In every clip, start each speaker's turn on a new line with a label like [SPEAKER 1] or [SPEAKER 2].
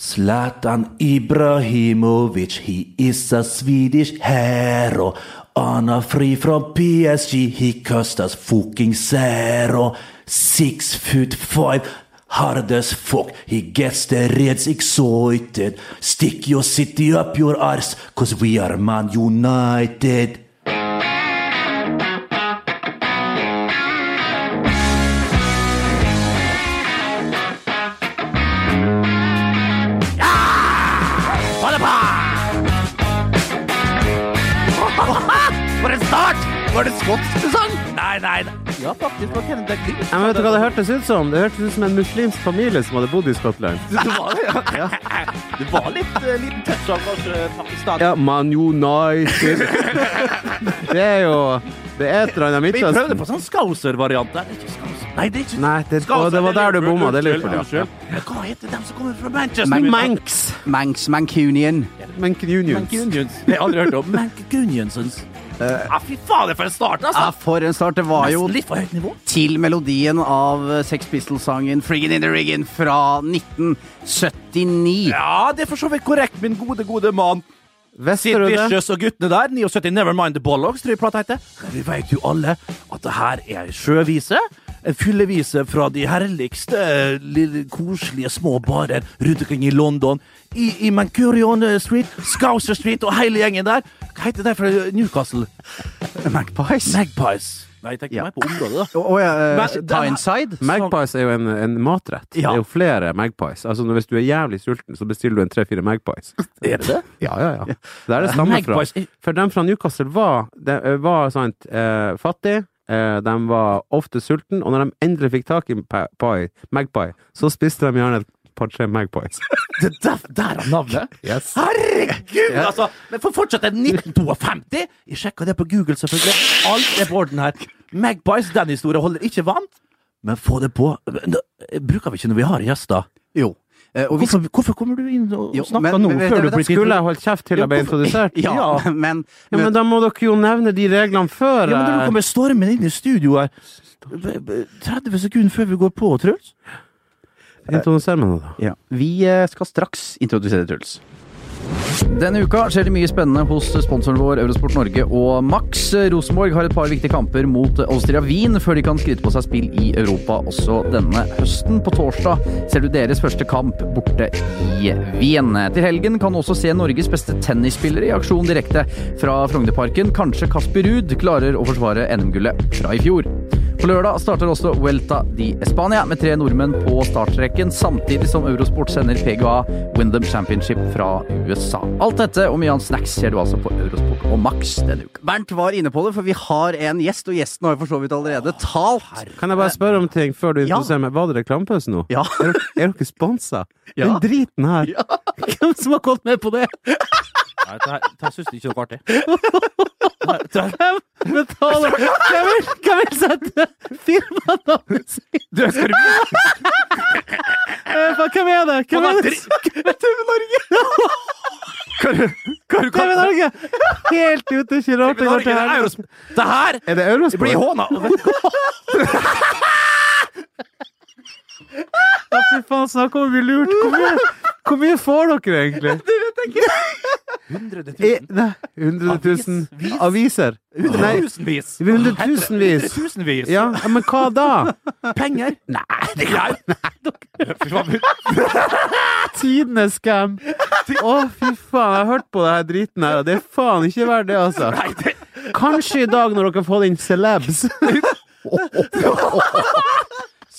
[SPEAKER 1] Zlatan Ibrahimovic, he is a Swedish hero. Anna free from PSG, he cost us fucking zero. Six foot five, hard as fuck. He gets the Reds excited. Stick your city up your arse, cause we are Man United.
[SPEAKER 2] For en start! Var det skotsk du sang? Nei, nei. Ja, faktisk. Hva kjenner deg til?
[SPEAKER 3] Ja, men vet du hva det hørtes ut som? Det hørtes ut som en muslimsk familie som hadde bodd i Skottland.
[SPEAKER 2] Det var, ja. det var litt eh, liten touch av kanskje Pakistan.
[SPEAKER 3] Ja, Man United. Det er jo Det er et eller annet
[SPEAKER 2] Vi prøvde
[SPEAKER 3] Midtøsten.
[SPEAKER 2] på sånn Scouser-variant der. Ikke Scouser. Nei, det er ikke
[SPEAKER 3] Nei, det, å, det var der du bomma. Det er Liverpool, ja.
[SPEAKER 2] Unnskyld. Men Hva heter dem som kommer fra Manchester?
[SPEAKER 3] Manks.
[SPEAKER 4] Manx Mancunian.
[SPEAKER 3] Manken Unions. Eh.
[SPEAKER 2] Mancunions. Det har jeg aldri hørt om. Mancunionsons. Ja, fy fader, for en start, altså!
[SPEAKER 4] Ja, Ah, for en start. Det var jo
[SPEAKER 2] Nesten litt for høyt nivå.
[SPEAKER 4] til melodien av eh, Sex Pistols-sangen 'Friggin' in the Riggin' fra 1979.
[SPEAKER 2] Ja, det er for så vidt korrekt, min gode, gode mann. Sid
[SPEAKER 3] Visste du det?
[SPEAKER 2] Vicious og guttene der, 79 Nevermind the Bollocks, tror jeg plata heter. Men Vi vet jo alle at det her er en sjøvise. En fyllevise fra de herligste, eh, lille, koselige små barer rundt omkring i London. I, i Mancurion eh, Street, Scouser Street og hele gjengen der. Hva heter det fra Newcastle?
[SPEAKER 4] Magpies.
[SPEAKER 2] Magpies. Nei, jeg tenker meg på området, da.
[SPEAKER 4] Å å, ja, eh,
[SPEAKER 2] Men den-
[SPEAKER 4] Tyneside.
[SPEAKER 3] Magpies er jo en, en matrett. Det
[SPEAKER 2] Ja.
[SPEAKER 3] er jo flere magpies. Altså, når- hvis du er jævlig sulten, så bestiller du en tre-fire magpies.
[SPEAKER 2] Er det det?
[SPEAKER 3] Ja, ja, ja. Det er det stammer fra.
[SPEAKER 2] Magpies.
[SPEAKER 3] For dem fra Newcastle var, de, eh, var sant, eh, fattig, eh, de var ofte sulten, og når de endelig fikk tak i pa- pie, magpie, så spiste de gjerne et par-tre magpies.
[SPEAKER 2] Det der, der er navnet. Herregud, altså! Men for fortsatt er det 1952. Jeg sjekka det på Google, selvfølgelig. Alt er på orden her. Magpies, den historien holder ikke vann. Men få det på. Nå, Bruker vi ikke når vi har gjester?
[SPEAKER 4] Jo. Eh, Og vi
[SPEAKER 2] Hvorfor, hvorfor kommer du inn og
[SPEAKER 4] Jo,
[SPEAKER 2] snakker
[SPEAKER 4] men-
[SPEAKER 2] nå?
[SPEAKER 4] men vet
[SPEAKER 2] Før
[SPEAKER 4] dere
[SPEAKER 2] du
[SPEAKER 4] hva?
[SPEAKER 2] blir
[SPEAKER 3] Skulle jeg holdt kjeft til jeg ble introdusert?
[SPEAKER 4] Ja,
[SPEAKER 2] Ja.
[SPEAKER 4] men,
[SPEAKER 3] Ja, men da må dere jo nevne de reglene før.
[SPEAKER 2] Ja, men når
[SPEAKER 3] eh.
[SPEAKER 2] du kommer stormende inn i studio her 30 sekunder før vi går på, Truls.
[SPEAKER 3] Introduser meg nå, da.
[SPEAKER 4] Ja. Vi eh, skal straks introdusere Truls. Denne uka skjer det mye spennende hos sponsoren vår Eurosport Norge og Max. Rosenborg har et par viktige kamper mot Austria Wien før de kan skryte på seg spill i Europa også denne høsten. På torsdag ser du deres første kamp borte i Wien. Til helgen kan du også se Norges beste tennisspillere i aksjon direkte fra Frognerparken. Kanskje Kasper Ruud klarer å forsvare NM-gullet fra i fjor. På lørdag starter også Vuelta di Spania med tre nordmenn på startstreken, samtidig som Eurosport sender PGA Wyndham Championship fra USA. Alt dette og mye annet snacks ser du altså på Eurosport og Max denne uka. Bernt var inne på det, for vi har en gjest, og gjesten har jo for så vidt allerede talt.
[SPEAKER 3] Kan jeg bare spørre om ting før du
[SPEAKER 4] Ja.
[SPEAKER 3] introduserer meg? Var det reklamepause nå?
[SPEAKER 4] Ja.
[SPEAKER 3] Er, dere- er dere sponsa?
[SPEAKER 4] Ja.
[SPEAKER 3] Den driten her! Hvem som har gått med på det?
[SPEAKER 2] Nei, det syns jeg ikke noe artig.
[SPEAKER 3] Hvem betaler Hvem vil, hvem vil sette firmanavnet sitt?
[SPEAKER 2] Du, skal du
[SPEAKER 3] Eh, faen, Hvem er det? Hvem er det?
[SPEAKER 2] TV Norge! Hva er det du
[SPEAKER 3] TV Norge! Helt ute, ikke rart det går til helvete.
[SPEAKER 2] Det her
[SPEAKER 3] Er det
[SPEAKER 2] blir
[SPEAKER 3] Eurosport?
[SPEAKER 2] håna!
[SPEAKER 3] Ja, fy faen, snakk om å bli lurt! Hvor mye, hvor mye får dere egentlig? I,
[SPEAKER 2] Eh,
[SPEAKER 3] Eh, nei, 100 000 aviser? Nei,
[SPEAKER 2] Tusenvis.
[SPEAKER 3] hundretusenvis.
[SPEAKER 2] Tusenvis.
[SPEAKER 3] Ja, men hva da?
[SPEAKER 2] Penger? Nei, det er greit.
[SPEAKER 3] Tidenes scam. Å, fy faen, jeg har hørt på det her driten her, og det er faen ikke verdt det, altså. Kanskje i dag, når dere får inn celebs.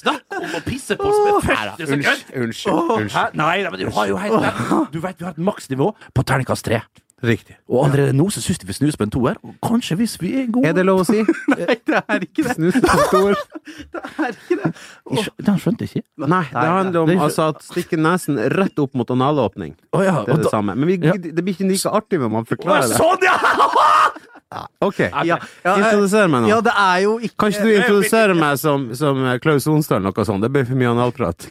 [SPEAKER 2] Snakk om å pisse på oss med 50 sekunder.
[SPEAKER 3] Unnskyld.
[SPEAKER 2] Hæ? Nei, nei, men du har jo helt rett. Du vet vi har et maksnivå på terningkast tre.
[SPEAKER 3] Riktig.
[SPEAKER 2] Og allerede nå så syns de vi snus på en toer. Og kanskje hvis vi er gode
[SPEAKER 3] Er det lov å si?
[SPEAKER 4] Nei, det er ikke
[SPEAKER 3] Snus på stor.
[SPEAKER 2] Jeg skjø- Den skjønte jeg ikke.
[SPEAKER 3] Nei, det handler om altså, at stikke nesen rett opp mot analåpning.
[SPEAKER 2] Å ja.
[SPEAKER 3] Det er
[SPEAKER 2] og
[SPEAKER 3] det
[SPEAKER 2] da-
[SPEAKER 3] samme. Men vi,
[SPEAKER 2] Ja.
[SPEAKER 3] det blir ikke like artig når man
[SPEAKER 2] Å, ja,
[SPEAKER 3] forklarer det.
[SPEAKER 2] Sånn, ja!
[SPEAKER 3] Ok,
[SPEAKER 4] Ja, ja, eh,
[SPEAKER 3] introduser meg
[SPEAKER 4] ja,
[SPEAKER 3] nå.
[SPEAKER 4] det er jo ikke
[SPEAKER 3] Kan ikke du introdusere meg som, som Klaus Onsdal, noe sånt? Det blir for mye analprat.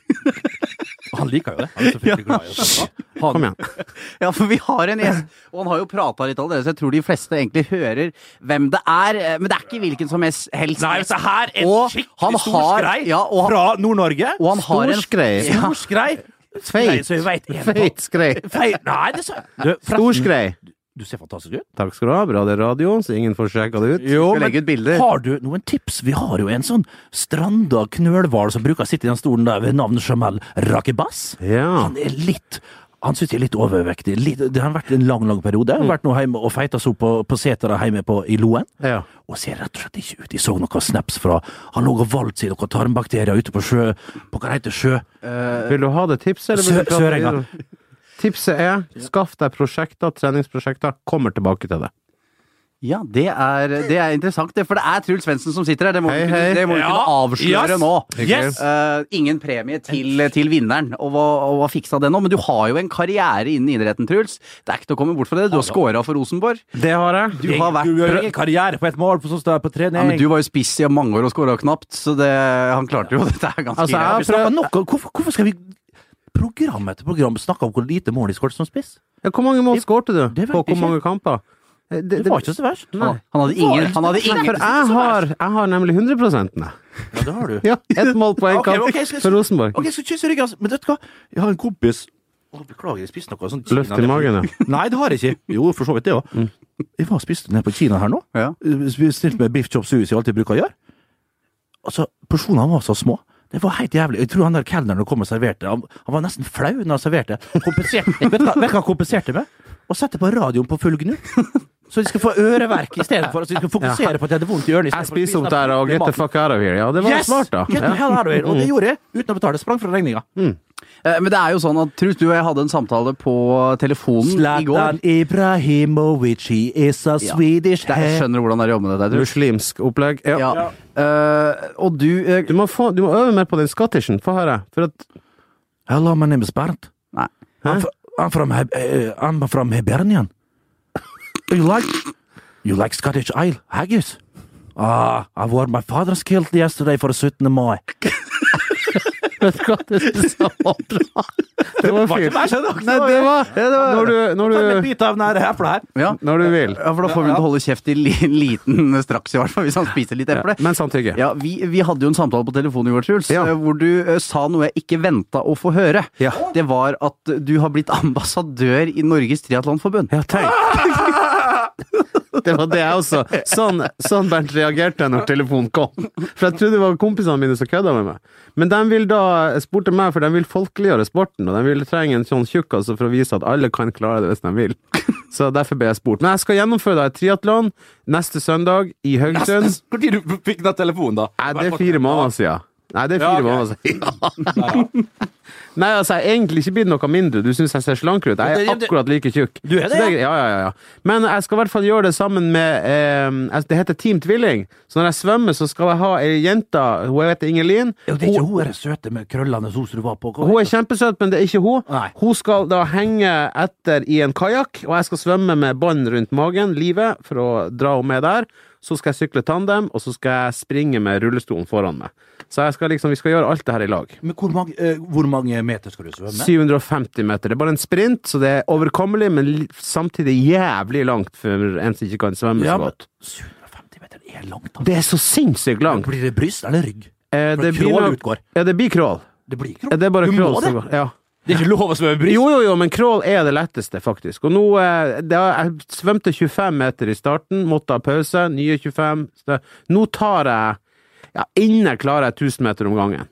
[SPEAKER 2] Han liker jo det. Han er selvfølgelig glad i oss.
[SPEAKER 3] Kom igjen.
[SPEAKER 4] Ja, for vi har en gjest, og han har jo prata litt allerede, så jeg tror de fleste egentlig hører hvem det er. eh, Men det er ikke hvilken som helst helst
[SPEAKER 2] Nei,
[SPEAKER 4] gjest.
[SPEAKER 2] så her er
[SPEAKER 4] Og
[SPEAKER 2] en skikkelig
[SPEAKER 4] han
[SPEAKER 2] stor
[SPEAKER 4] har-
[SPEAKER 2] skrei
[SPEAKER 4] ja, og han-
[SPEAKER 2] fra Nord-Norge.
[SPEAKER 4] Og han har en
[SPEAKER 3] Storskrei.
[SPEAKER 4] Ja.
[SPEAKER 2] Stor skrei. Nei, så jeg
[SPEAKER 3] Feit.
[SPEAKER 2] vet en
[SPEAKER 3] Feit skrei.
[SPEAKER 2] Feit. Nei, det sa du,
[SPEAKER 3] Stor
[SPEAKER 2] forresten,
[SPEAKER 3] skrei.
[SPEAKER 2] du ser fantastisk ut.
[SPEAKER 3] Takk skal du ha. Bra det er radio, så ingen får sjekka det ut.
[SPEAKER 2] Jo,
[SPEAKER 3] skal
[SPEAKER 2] men-
[SPEAKER 3] legge ut bilder.
[SPEAKER 2] Har du noen tips? Vi har jo en sånn stranda knølhval som bruker å sitte i den stolen der ved navn Jamal Rakebas.
[SPEAKER 3] Ja.
[SPEAKER 2] Han er litt han synes jeg er litt overvektig. Litt, det har vært en lang lang periode. Har vært nå hjemme og feita seg opp på, på setera hjemme på, i Loen.
[SPEAKER 3] Ja.
[SPEAKER 2] Og ser rett og slett ikke ut. Jeg så noen snaps fra Han lå og valgte seg noen tarmbakterier ute på sjø På hva heter sjø?
[SPEAKER 3] Vil du ha det tipset? eller vil du
[SPEAKER 2] Sø-
[SPEAKER 3] prate
[SPEAKER 2] Sørenga.
[SPEAKER 3] videre? Tipset er skaff deg prosjekter, treningsprosjekter. Kommer tilbake til det.
[SPEAKER 4] Ja, det er, det er interessant, det. For det er Truls Svendsen som sitter her. Det må vi
[SPEAKER 3] Hei,
[SPEAKER 4] kunne,
[SPEAKER 3] hei.
[SPEAKER 4] det må vi kunne avsløre
[SPEAKER 2] yes.
[SPEAKER 4] nå.
[SPEAKER 2] Yes.
[SPEAKER 4] Eh, ingen premie til, til vinneren, og hva, og hva fiksa det nå? Men du har jo en karriere innen idretten, Truls. Det er ikke til å komme bort fra det. Du har scora for Rosenborg.
[SPEAKER 3] Det har jeg.
[SPEAKER 4] Du har vært
[SPEAKER 2] Du gjør ingen karriere på et mål, på sånn sted på trening.
[SPEAKER 4] ja, men Du var jo spiss i mange år og scora knapt, så det, han klarte jo dette er ganske
[SPEAKER 3] Altså,
[SPEAKER 4] greit.
[SPEAKER 2] Vi snakker nok om hvorfor, hvorfor skal vi program etter program snakke om hvor lite mål de skåret som spiss?
[SPEAKER 3] Ja, Hvor mange mål skårte du
[SPEAKER 2] Det vet jeg
[SPEAKER 3] på hvor
[SPEAKER 2] ikke.
[SPEAKER 3] mange kamper? Eh,
[SPEAKER 2] Det var ikke så verst.
[SPEAKER 3] Nei.
[SPEAKER 4] Han hadde ingen, han hadde ingen
[SPEAKER 3] For jeg har, jeg har nemlig 100 nei.
[SPEAKER 2] Ja, det har du.
[SPEAKER 3] Ja, Ett mål på én
[SPEAKER 2] Ok,
[SPEAKER 3] kamp
[SPEAKER 2] ok, jeg skal-
[SPEAKER 3] for Rosenborg.
[SPEAKER 2] Ok, jeg skal kysse ryggen, altså. Men vet du hva? Jeg har en kompis Å, Beklager, jeg spiste noe sånn Kina-
[SPEAKER 3] Løft i magen, ja. Mm.
[SPEAKER 2] Nei, det har jeg ikke. Jo, for så vidt det òg. Jeg var og spiste nede på Kina her nå.
[SPEAKER 4] Ja.
[SPEAKER 2] Stilt med biff chop suey som jeg alltid bruker å gjøre. Altså, Porsjonene var så små. Det var helt jævlig. Jeg tror han der kelneren som kom og serverte, han, han var nesten flau når han serverte. Kompensert, vet du hva vet du hva han kompenserte med? Å sette på radioen på full gnu. Så de skal få øreverk istedenfor. Altså, de skal fokusere på at de hadde vondt i ørene. i stedet
[SPEAKER 3] Jeg
[SPEAKER 2] for å
[SPEAKER 3] spiser opp
[SPEAKER 2] spise
[SPEAKER 3] der og
[SPEAKER 2] den
[SPEAKER 3] get the fuck out of here. Ja, det var
[SPEAKER 2] Yes!
[SPEAKER 3] smart, da.
[SPEAKER 2] Get the
[SPEAKER 3] Ja.
[SPEAKER 2] hell out of here. Og det gjorde jeg, uten å betale. Sprang fra regninga.
[SPEAKER 4] Eh, Men det er jo sånn at Truls, du og jeg hadde en samtale på telefonen i går.
[SPEAKER 1] Zlatan Ibrahimovic, he is a
[SPEAKER 4] Ja.
[SPEAKER 1] Swedish
[SPEAKER 4] Det, jeg skjønner hvordan det er å jobbe med dette,
[SPEAKER 3] Mm.
[SPEAKER 4] Truls.
[SPEAKER 3] Muslimsk opplegg. Ja.
[SPEAKER 4] Ja. Eh, og du eh,
[SPEAKER 3] Du, må få, du må øve mer på den scottishen. Få høre. For at
[SPEAKER 1] Hello, my name is Bernt.
[SPEAKER 4] Nei.
[SPEAKER 1] I'm, fr- I'm from Heb-
[SPEAKER 2] eh,
[SPEAKER 1] uh, I'm from Hibernian. you like you like Scottish ale haggis? Ah, I wore my father's kilt yesterday for 17th of May.
[SPEAKER 3] Vet du hva det sa? Det var fint. Nei, det var, når, du, når,
[SPEAKER 2] En
[SPEAKER 3] du,
[SPEAKER 2] bit av denne eplet her.
[SPEAKER 4] Ja.
[SPEAKER 3] når du vil.
[SPEAKER 4] Ja, for da får vi til å holde kjeft i li- liten straks, i hvert fall, hvis han spiser litt eple.
[SPEAKER 3] Men sånn samtykke.
[SPEAKER 4] Ja, vi, vi hadde jo en samtale på telefonen i går, Truls,
[SPEAKER 3] Ja.
[SPEAKER 4] eh, hvor du eh, sa noe jeg ikke venta å få høre.
[SPEAKER 3] Ja.
[SPEAKER 4] Det var at du har blitt ambassadør i Norges Triatlonforbund.
[SPEAKER 3] Ja, tenk.
[SPEAKER 2] Ah!
[SPEAKER 3] Det var det jeg også. Sånn, sånn Bernt reagerte jeg når telefonen kom. For jeg trodde det var kompisene mine som kødda med meg. Men de vil da spurte meg, for de vil folkeliggjøre sporten, og de vil trenge en sånn tjukk altså, for å vise at alle kan klare det hvis de vil. Så derfor ble jeg spurt. Men jeg skal gjennomføre da et triatlon neste søndag i Haugesund.
[SPEAKER 2] Når fikk du den telefonen, da?
[SPEAKER 3] Nei, det er fire måneder siden. Nei, det er fire
[SPEAKER 2] Ja, ok.
[SPEAKER 3] måneder siden. Nei, altså, jeg er egentlig ikke blitt noe mindre. Du syns jeg ser slanker ut. Jeg
[SPEAKER 2] Ja,
[SPEAKER 3] er
[SPEAKER 2] det- det-
[SPEAKER 3] akkurat like tjukk.
[SPEAKER 2] Du er det,
[SPEAKER 3] Så greit. ja? Ja, ja, ja. Men jeg skal i hvert fall gjøre det sammen med eh, altså, Det heter Team Tvilling. Så når jeg svømmer, så skal jeg ha ei jente. Hun heter Ingelin.
[SPEAKER 2] Jo, det er ikke hun er søte med krøllene sånn som du var på.
[SPEAKER 3] Hun er kjempesøt, men det er ikke hun.
[SPEAKER 2] Nei.
[SPEAKER 3] Hun skal da henge etter i en kajakk, og jeg skal svømme med bånd rundt magen, livet, for å dra henne med der. Så skal jeg sykle tandem, og så skal jeg springe med rullestolen foran meg. Så jeg skal liksom, vi skal gjøre alt det her i lag.
[SPEAKER 2] Men hvor mange, eh, hvor mange meter skal du svømme?
[SPEAKER 3] 750 meter. Det er bare en sprint, så det er overkommelig, men li- samtidig jævlig langt for en som ikke kan svømme
[SPEAKER 2] Ja,
[SPEAKER 3] så
[SPEAKER 2] men
[SPEAKER 3] godt.
[SPEAKER 2] 750 meter er langt. Da.
[SPEAKER 3] Det er så sinnssykt langt!
[SPEAKER 2] Blir det bryst eller rygg?
[SPEAKER 3] Eh,
[SPEAKER 2] For
[SPEAKER 3] blir
[SPEAKER 2] crawl
[SPEAKER 3] nok-
[SPEAKER 2] utgår.
[SPEAKER 3] Ja, det blir crawl.
[SPEAKER 2] Det blir
[SPEAKER 3] Ja,
[SPEAKER 2] ikke
[SPEAKER 3] Det er bare
[SPEAKER 2] Du må
[SPEAKER 3] crawl
[SPEAKER 2] det.
[SPEAKER 3] som går. Ja.
[SPEAKER 2] Det er ikke lov å svømme bryst.
[SPEAKER 3] Jo, jo, jo, men crawl er det letteste, faktisk. Og nå eh, det, har- Jeg svømte 25 meter i starten, måtte ha pause, nye 25. Så det- nå tar jeg Ja, inne klarer jeg 1000 meter om gangen.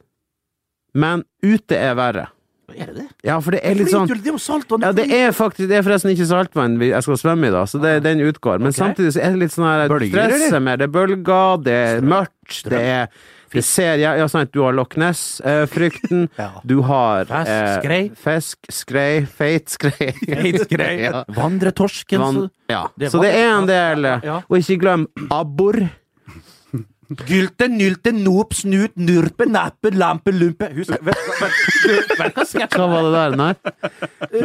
[SPEAKER 3] Men ute er verre.
[SPEAKER 2] Er det det?
[SPEAKER 3] Ja, for det er litt
[SPEAKER 2] Flyt
[SPEAKER 3] sånn
[SPEAKER 2] jo, Det er jo saltvann.
[SPEAKER 3] ja, det er faktisk Det er forresten ikke saltvann vi- jeg skal svømme i, da, så det, den utgår. Men samtidig så er det litt sånn her
[SPEAKER 4] Bølger,
[SPEAKER 3] stresset med det er bølger, det er mørkt, det er det ser, ja, ja, sant, Du har Loch Ness-frykten. Du har eh,
[SPEAKER 2] Fisk, skrei.
[SPEAKER 3] fisk, skrei, feit skrei. ja.
[SPEAKER 2] Vandretorsken.
[SPEAKER 3] Vann,
[SPEAKER 2] så-
[SPEAKER 3] ja.
[SPEAKER 2] Det
[SPEAKER 3] Så
[SPEAKER 2] var-
[SPEAKER 3] det er en del. eh,
[SPEAKER 2] ja.
[SPEAKER 3] Og ikke glem abbor.
[SPEAKER 2] Gylte, nylte, nop, snut, nurpe, nappe, lampe, lumpe Husk, vet du hva- vet du vet du hva sketsjen
[SPEAKER 3] Hva var det der? Nei?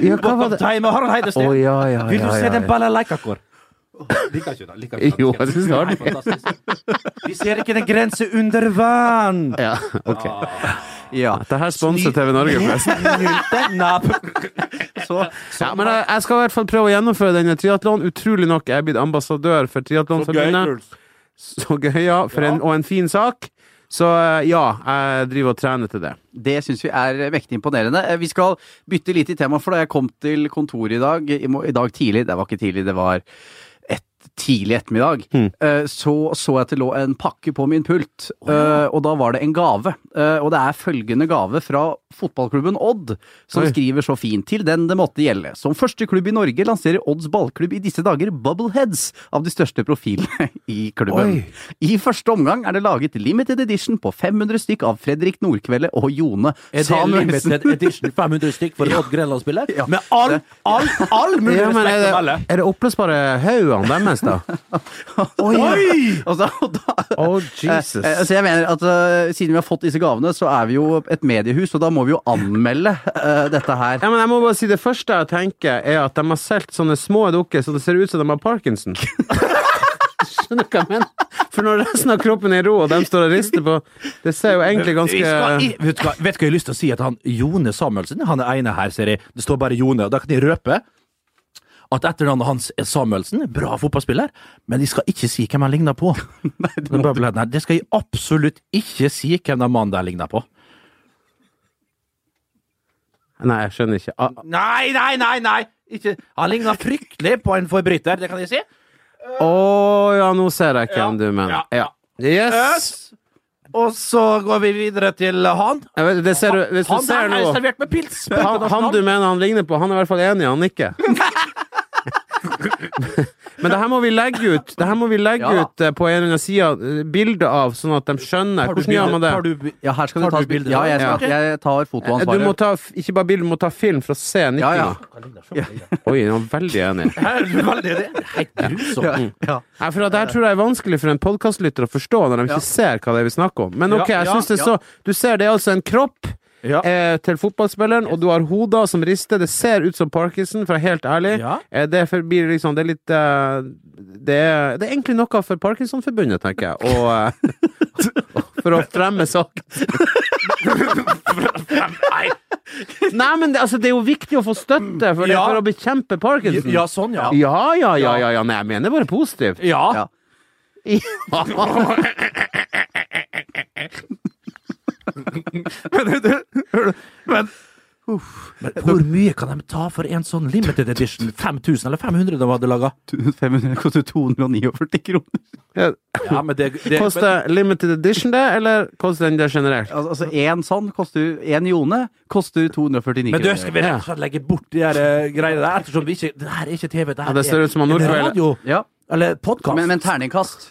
[SPEAKER 3] Ja, hva var det?
[SPEAKER 2] Time med Harald Heidesteen?
[SPEAKER 3] Å, ja, ja,
[SPEAKER 2] Vil du
[SPEAKER 3] ja,
[SPEAKER 2] se
[SPEAKER 3] ja,
[SPEAKER 2] den
[SPEAKER 3] ja.
[SPEAKER 2] balalaika-kår? Liker ikke det. Liker
[SPEAKER 3] Jo, jeg synes det var
[SPEAKER 2] Nei, fantastisk. Vi ser ikke en grense under vann!
[SPEAKER 3] Ja, ok.
[SPEAKER 4] Ja.
[SPEAKER 3] Dette her sponser TV Norge, forresten.
[SPEAKER 2] Nylte, napp Så, sånn så
[SPEAKER 3] Ja, men jeg, jeg skal i hvert fall prøve å gjennomføre denne triatlon. Utrolig nok er jeg blitt ambassadør for Triatlonforbundet. Så gøy, ja. For en, og en fin sak. Så eh, ja, jeg driver og trener til det.
[SPEAKER 4] Det syns vi er mektig imponerende. Eh, Vi skal bytte litt i tema, for da jeg kom til kontoret i dag, i, mo- i dag tidlig, det var ikke tidlig, det var et, tidlig ettermiddag,
[SPEAKER 2] Mm.
[SPEAKER 4] eh, så så jeg at det lå en pakke på min pult, eh, og da var det en gave. Eh, Og det er følgende gave fra fotballklubben Odd, som
[SPEAKER 3] Oi.
[SPEAKER 4] skriver så fint til den det måtte gjelde. Som første klubb i Norge lanserer Odds ballklubb i disse dager Bubbleheads av de største profilene i klubben.
[SPEAKER 3] Oi.
[SPEAKER 4] I første omgang er det laget limited edition på 500 stykk av Fredrik Nordkvelde og Jone
[SPEAKER 2] Er det
[SPEAKER 4] Samuelsen.
[SPEAKER 2] limited edition 500 stykk for en Odd Grenland-spiller? Med all, all, all mulig
[SPEAKER 3] Ja, men
[SPEAKER 2] respekt
[SPEAKER 3] er
[SPEAKER 2] å
[SPEAKER 3] det,
[SPEAKER 2] melde.
[SPEAKER 3] er det oppblåsbare haugene deres, da?
[SPEAKER 2] Oi!
[SPEAKER 4] Og så- og da-
[SPEAKER 3] Oh,
[SPEAKER 4] Eh, eh, Så jeg mener at eh, Siden vi har fått disse gavene, så er vi jo et mediehus, og da må vi jo anmelde eh, dette her.
[SPEAKER 3] Ja, men jeg må bare si Det første jeg tenker, er at de har solgt sånne små dukker så det ser ut som de har parkinson. Skjønner du hva jeg mener? For når resten av kroppen er rå, og de står og rister på Det ser jo egentlig
[SPEAKER 2] Vi skal
[SPEAKER 3] ganske
[SPEAKER 2] i- Vet du hva, vet du hva jeg har lyst til å si? At han Jone Samuelsen, han er ene her, ser jeg. Det står bare Jone, og da kan jeg røpe at etternavnet hans er Samuelsen. Bra fotballspiller, men de skal ikke si hvem han ligner på. Men Bøbelen her, det skal jeg absolutt ikke si hvem den mannen der ligner på.
[SPEAKER 3] Nei, jeg skjønner ikke. Ah,
[SPEAKER 2] Nei, nei, nei! nei ikke. Han ligner fryktelig på en forbryter, det kan jeg si.
[SPEAKER 3] Å ja, nå ser jeg hvem du mener. Ja.
[SPEAKER 2] Ja.
[SPEAKER 3] Yes!
[SPEAKER 2] Øs. Og så går vi videre til han.
[SPEAKER 3] Jeg vet, det ser du, hvis du
[SPEAKER 2] Han
[SPEAKER 3] ser
[SPEAKER 2] der er
[SPEAKER 3] nå
[SPEAKER 2] servert med pils!
[SPEAKER 3] han, han du mener han ligner på, han er i hvert fall enig, han ikke. Men det her må vi legge ut Det her må vi legge
[SPEAKER 4] Ja.
[SPEAKER 3] ut eh, på en eller annen side bilde av, sånn at de skjønner.
[SPEAKER 2] Tar du
[SPEAKER 3] Hvordan gjør man det?
[SPEAKER 2] bilder- tar du-
[SPEAKER 4] Ja, her skal
[SPEAKER 2] Tar
[SPEAKER 4] det tas
[SPEAKER 2] du bilder,
[SPEAKER 4] Ja, jeg,
[SPEAKER 3] da?
[SPEAKER 4] skal, jeg tar
[SPEAKER 3] Eh, Du
[SPEAKER 4] fotoansvaret.
[SPEAKER 3] må ta, f- ikke bare bilde, du må ta film for å se nikkinga.
[SPEAKER 4] Ja, ja.
[SPEAKER 3] Oi, jeg er veldig enig.
[SPEAKER 2] Er du veldig det? Det er Helt
[SPEAKER 4] Ja,
[SPEAKER 2] grusomt.
[SPEAKER 4] ja.
[SPEAKER 3] Nei, for at Det her tror jeg er vanskelig for en podkastlytter å forstå når de ikke
[SPEAKER 4] Ja.
[SPEAKER 3] ser hva det er vi snakker om. Men ok,
[SPEAKER 2] Ja,
[SPEAKER 3] jeg
[SPEAKER 2] ja,
[SPEAKER 3] synes det er
[SPEAKER 2] ja.
[SPEAKER 3] så Du ser det er altså en kropp
[SPEAKER 2] Ja.
[SPEAKER 3] eh, til fotballspilleren, og du har hoder som rister. Det ser ut som Parkinson, for å være helt ærlig.
[SPEAKER 2] Ja.
[SPEAKER 3] Eh, det for- blir liksom Det er litt eh, det, er, det er egentlig noe for Parkinsonforbundet, tenker jeg, og, eh, for å fremme saken.
[SPEAKER 2] Nei.
[SPEAKER 3] Nei, men det, altså, det er jo viktig å få støtte for, det,
[SPEAKER 2] Ja.
[SPEAKER 3] for å bekjempe Parkinson.
[SPEAKER 2] Ja, sånn, ja.
[SPEAKER 3] Ja, ja, ja, ja, ja. Nei, jeg mener bare positivt.
[SPEAKER 2] Ja.
[SPEAKER 4] Ja.
[SPEAKER 2] Men, du, hør du, men, men hvor mye kan de ta for en sånn limited edition? 5000 eller 500 de hadde laga?
[SPEAKER 4] 500 koster 249 kroner.
[SPEAKER 3] Ja.
[SPEAKER 2] Ja, men det, det, men,
[SPEAKER 3] Koster limited edition det, eller koster den det generelt?
[SPEAKER 4] Al altså én sånn koster Én jone koster 249
[SPEAKER 2] men du,
[SPEAKER 4] kroner.
[SPEAKER 2] skal vi rett og slett legge bort de der eh, greiene der? Ettersom vi ikke Det her er ikke TV, det
[SPEAKER 3] Ja,
[SPEAKER 2] her
[SPEAKER 3] det ser ut som han
[SPEAKER 2] en
[SPEAKER 3] Nordkveld-
[SPEAKER 2] radio.
[SPEAKER 4] Ja.
[SPEAKER 2] Eller podkast.
[SPEAKER 4] Men, men terningkast.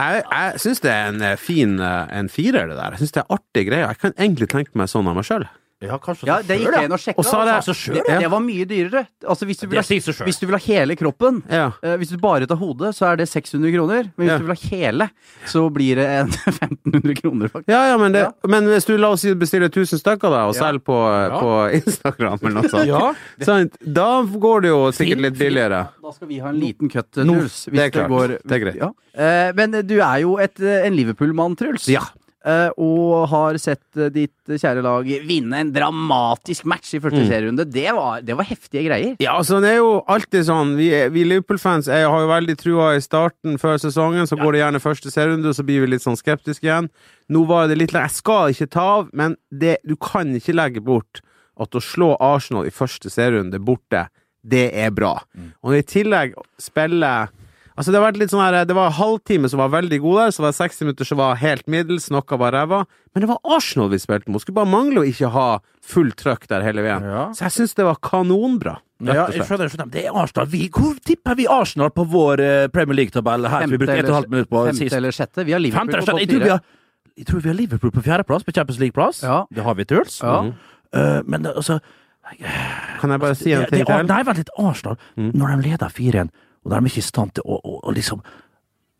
[SPEAKER 3] Jeg, jeg syns det er en eh, fin eh, en firer, det der. Jeg syns det er artig greie. Jeg kan egentlig tenke meg sånn av meg sjøl.
[SPEAKER 2] ja, kanskje
[SPEAKER 4] Ja, det gikk jeg inn og sjekka.
[SPEAKER 3] Og så er det-
[SPEAKER 4] altså. det, det var mye dyrere. Altså, hvis du vil
[SPEAKER 2] Det
[SPEAKER 4] ha,
[SPEAKER 2] sier seg selv.
[SPEAKER 4] hvis du vil ha hele kroppen
[SPEAKER 3] Ja.
[SPEAKER 4] eh, Hvis du bare tar hodet, så er det 600 kroner. Men hvis
[SPEAKER 3] Ja.
[SPEAKER 4] du vil ha hele, så blir det en 1500 kroner, faktisk.
[SPEAKER 3] Ja, ja, men, det,
[SPEAKER 4] Ja.
[SPEAKER 3] men hvis du la oss si du bestiller 1000 stykker da, og
[SPEAKER 4] Ja.
[SPEAKER 3] selger på, eh,
[SPEAKER 2] Ja.
[SPEAKER 3] på Instagram eller noe sånt,
[SPEAKER 2] Ja.
[SPEAKER 3] sant? da går det jo sikkert litt billigere.
[SPEAKER 4] Da skal vi ha en liten cut,
[SPEAKER 3] Nå,
[SPEAKER 4] Truls.
[SPEAKER 3] det er klart. Det er greit.
[SPEAKER 4] Ja. Eh, Men du er jo et, eh, en Liverpool-mann, Truls.
[SPEAKER 3] Ja.
[SPEAKER 4] Eh, Og har sett eh, ditt eh, kjære lag vinne en dramatisk match i første
[SPEAKER 2] Mm.
[SPEAKER 4] serierunde. Det var, det var heftige greier.
[SPEAKER 3] Ja, altså det er jo alltid sånn Vi, vi Liverpool-fans er- har jo veldig trua i starten før sesongen. Så går det gjerne første serierunde, og så blir vi litt sånn skeptiske igjen. Nå var det litt Jeg skal ikke ta av, men det, du kan ikke legge bort at å slå Arsenal i første serierunde borte, det er bra. Og når i tillegg spiller Altså Det har vært litt sånn her Det var halvtime som var veldig god der, så var det 60 minutter som var helt middels, noe var ræva. Men det var Arsenal vi spilte mot. Skulle bare mangle å ikke ha fullt trøkk der hele veien.
[SPEAKER 2] Ja.
[SPEAKER 3] Så jeg syns det var kanonbra.
[SPEAKER 2] Ja,
[SPEAKER 3] Rett og
[SPEAKER 2] jeg
[SPEAKER 3] slett.
[SPEAKER 2] skjønner, jeg skjønner. Det er Arsenal. Vi, hvor tipper vi Arsenal på vår eh, Premier League-tabell her? som vi brukte 1,5 minutt på
[SPEAKER 4] femte
[SPEAKER 2] sist.
[SPEAKER 4] eller sjette. Vi har Liverpool
[SPEAKER 2] Femte,
[SPEAKER 4] på
[SPEAKER 2] eller sjette. jeg, tror vi
[SPEAKER 4] topp fire.
[SPEAKER 2] har, jeg tror vi har Liverpool på fjerdeplass, på Champions League-plass.
[SPEAKER 4] Ja.
[SPEAKER 2] Det har vi, Truls.
[SPEAKER 4] Ja.
[SPEAKER 2] Eh, men altså
[SPEAKER 3] Mm. Kan jeg bare si en
[SPEAKER 2] det-
[SPEAKER 3] ting
[SPEAKER 2] det-
[SPEAKER 3] til? Mm.
[SPEAKER 2] Nei, vent litt. Arsenal, når de leder 4-1, og da er de ikke i stand til å, å, å liksom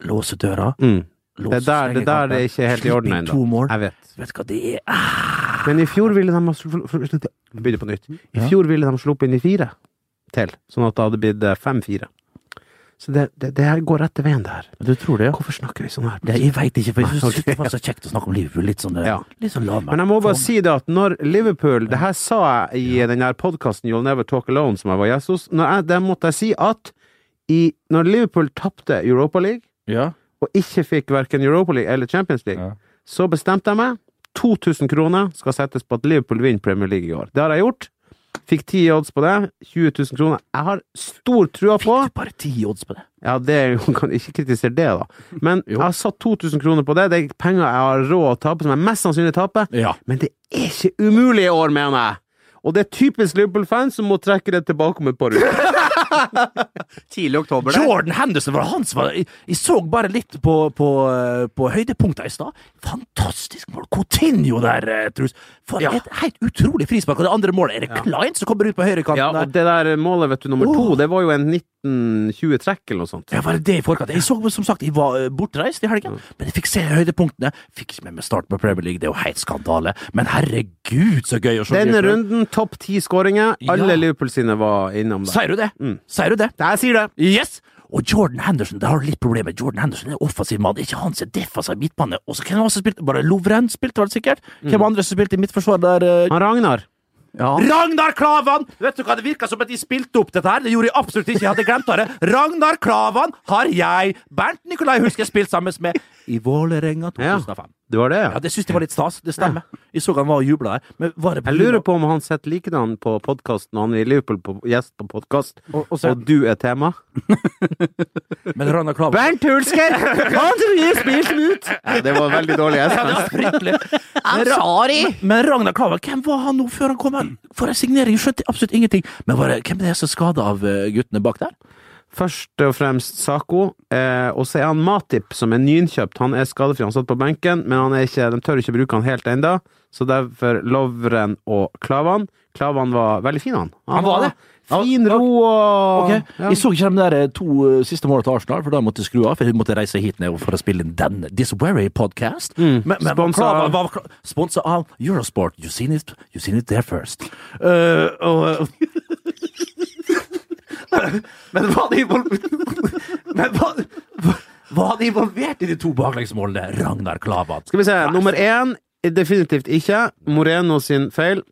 [SPEAKER 2] låse døra
[SPEAKER 3] Mm. Det
[SPEAKER 2] låse
[SPEAKER 3] er der det, er der det er ikke er helt i
[SPEAKER 2] Slipper
[SPEAKER 3] orden
[SPEAKER 2] inn
[SPEAKER 3] ennå.
[SPEAKER 2] to mål.
[SPEAKER 3] Jeg vet.
[SPEAKER 2] Vet du hva det er? Ah,
[SPEAKER 3] Men i fjor ville de ha sl- sl- sl- sl- Begynne på nytt. I
[SPEAKER 2] Ja.
[SPEAKER 3] fjor ville de sluppet inn i fire til, sånn at det hadde blitt eh, fem-fire. Så det, det, det her går rett til veien, det her.
[SPEAKER 2] Du tror det, ja?
[SPEAKER 3] Hvorfor snakker vi sånn her?
[SPEAKER 2] Det, jeg veit ikke, for jeg
[SPEAKER 3] Nei,
[SPEAKER 2] syns det var så kjekt å snakke om Liverpool. Litt sånn, eh,
[SPEAKER 3] Ja.
[SPEAKER 2] litt sånn lavmælt.
[SPEAKER 3] Men jeg må bare si det at når Liverpool Det her sa jeg i den her podkasten You'll Never Talk Alone, som jeg var gjest hos. Når jeg, der måtte jeg si at i, når Liverpool tapte Europa League
[SPEAKER 2] ja.
[SPEAKER 3] og ikke fikk verken Europa League eller Champions League,
[SPEAKER 2] Ja.
[SPEAKER 3] Så bestemte jeg meg. 2000 kroner skal settes på at Liverpool vinner Premier League i år. Det har jeg gjort. Fikk 10 odds på det. 20 000 kroner. Jeg har stor trua på
[SPEAKER 2] Fikk du bare ti odds på det?
[SPEAKER 3] Ja, det er jo- kan ikke kritisere det, da. Men jeg har satt 2000 kroner på det. Det er penger jeg har råd å tape, som jeg mest sannsynlig taper.
[SPEAKER 2] Ja.
[SPEAKER 3] Men det er ikke umulig i år, mener jeg! Og det er typisk Liverpool-fans som må trekke det tilbake om et par uker.
[SPEAKER 4] Tidlig oktober der.
[SPEAKER 2] Jordan Henderson var hans. Var, jeg, jeg så bare litt på, på, eh, på høydepunkta i stad. Fantastisk mål! Coutinho der, eh, Truls. For et helt utrolig frispark. Og det andre målet er det Klein som kommer ut på høyrekanten
[SPEAKER 3] Ja,
[SPEAKER 2] der.
[SPEAKER 3] og det der målet, vet du, nummer to, det var jo en 1920-trekk eller noe sånt.
[SPEAKER 2] Ja, var det det i forkant? Jeg så som sagt, jeg var eh, bortreist i
[SPEAKER 3] Mm.
[SPEAKER 2] helgen, men jeg fikk se høydepunktene. Fikk ikke med meg start på Premier League, det er jo helt skandale. Men herregud, så gøy å se.
[SPEAKER 3] Denne
[SPEAKER 2] Liverpool.
[SPEAKER 3] runden, topp ti skåringer.
[SPEAKER 2] Ja.
[SPEAKER 3] Alle Liverpool sine var innom der.
[SPEAKER 2] Sier du det?
[SPEAKER 3] Mm.
[SPEAKER 2] Sier du det?
[SPEAKER 3] Jeg sier det!
[SPEAKER 2] Yes! Og Jordan Henderson, det har du litt problemer med. Jordan Henderson er offensiv mann, ikke han som er defensiv midtbane. Og så kan han også spille Bare Lovren spilte vel sikkert? Hvem andre som spilte i midtforsvar der? eh?
[SPEAKER 3] Mm. Han Ragnar.
[SPEAKER 4] Ja.
[SPEAKER 2] Ragnar Klavan! Vet du hva, det virka som at de spilte opp dette her. Det gjorde jeg absolutt ikke, jeg hadde glemt det. Ragnar Klavan har jeg, Bernt Nikolai, husker jeg spilte sammen med i Vålerenga 2005. Ja.
[SPEAKER 3] Det var det, ja.
[SPEAKER 2] Det syns jeg var litt stas. Det stemmer. Jeg så han var og jubla her. Men var det
[SPEAKER 3] Jeg lurer på om han setter likedan på podkasten. Han er i Liverpool på gjest på podkast,
[SPEAKER 2] Og- og
[SPEAKER 3] og,
[SPEAKER 2] så-
[SPEAKER 3] du er tema.
[SPEAKER 2] Men Ragnar Klavan
[SPEAKER 3] Bernt Hulsker! Han tror jeg spilte den ut! Ja, det var veldig dårlig
[SPEAKER 2] Det
[SPEAKER 3] SMS.
[SPEAKER 2] var fryktelig. Men Ra- Men Ragnar Klavan, hvem var han nå før han kom her? For en signering, skjønte absolutt ingenting. Men var det, hvem er det som er skada av eh, guttene bak der?
[SPEAKER 3] Først og fremst Sako, eh, og så er han Matip, som er nyinnkjøpt. Han er skadefri, han satt på benken, men han er ikke, de tør ikke bruke han helt ennå. Så derfor Lovren og Klavan. Klavan var veldig fin, han.
[SPEAKER 2] Han var det?
[SPEAKER 3] Fin ro og
[SPEAKER 2] Ok,
[SPEAKER 3] ja.
[SPEAKER 2] Jeg så ikke de der eh, to eh, siste målene til Arsenal, for da måtte jeg skru av. For jeg måtte reise hit ned for å spille inn denne Disawary-podkast. Mm. Men, men
[SPEAKER 3] Sponsa
[SPEAKER 2] Klavan
[SPEAKER 3] av-
[SPEAKER 2] var Kla- sponsa av Eurosport. You seen it, you seen it there first. Eh, og, men var det involvert Men var, var det involvert i de to baklengsmålene, Ragnar Klavan?
[SPEAKER 3] Skal vi se. Nummer én definitivt ikke. Moreno sin feil.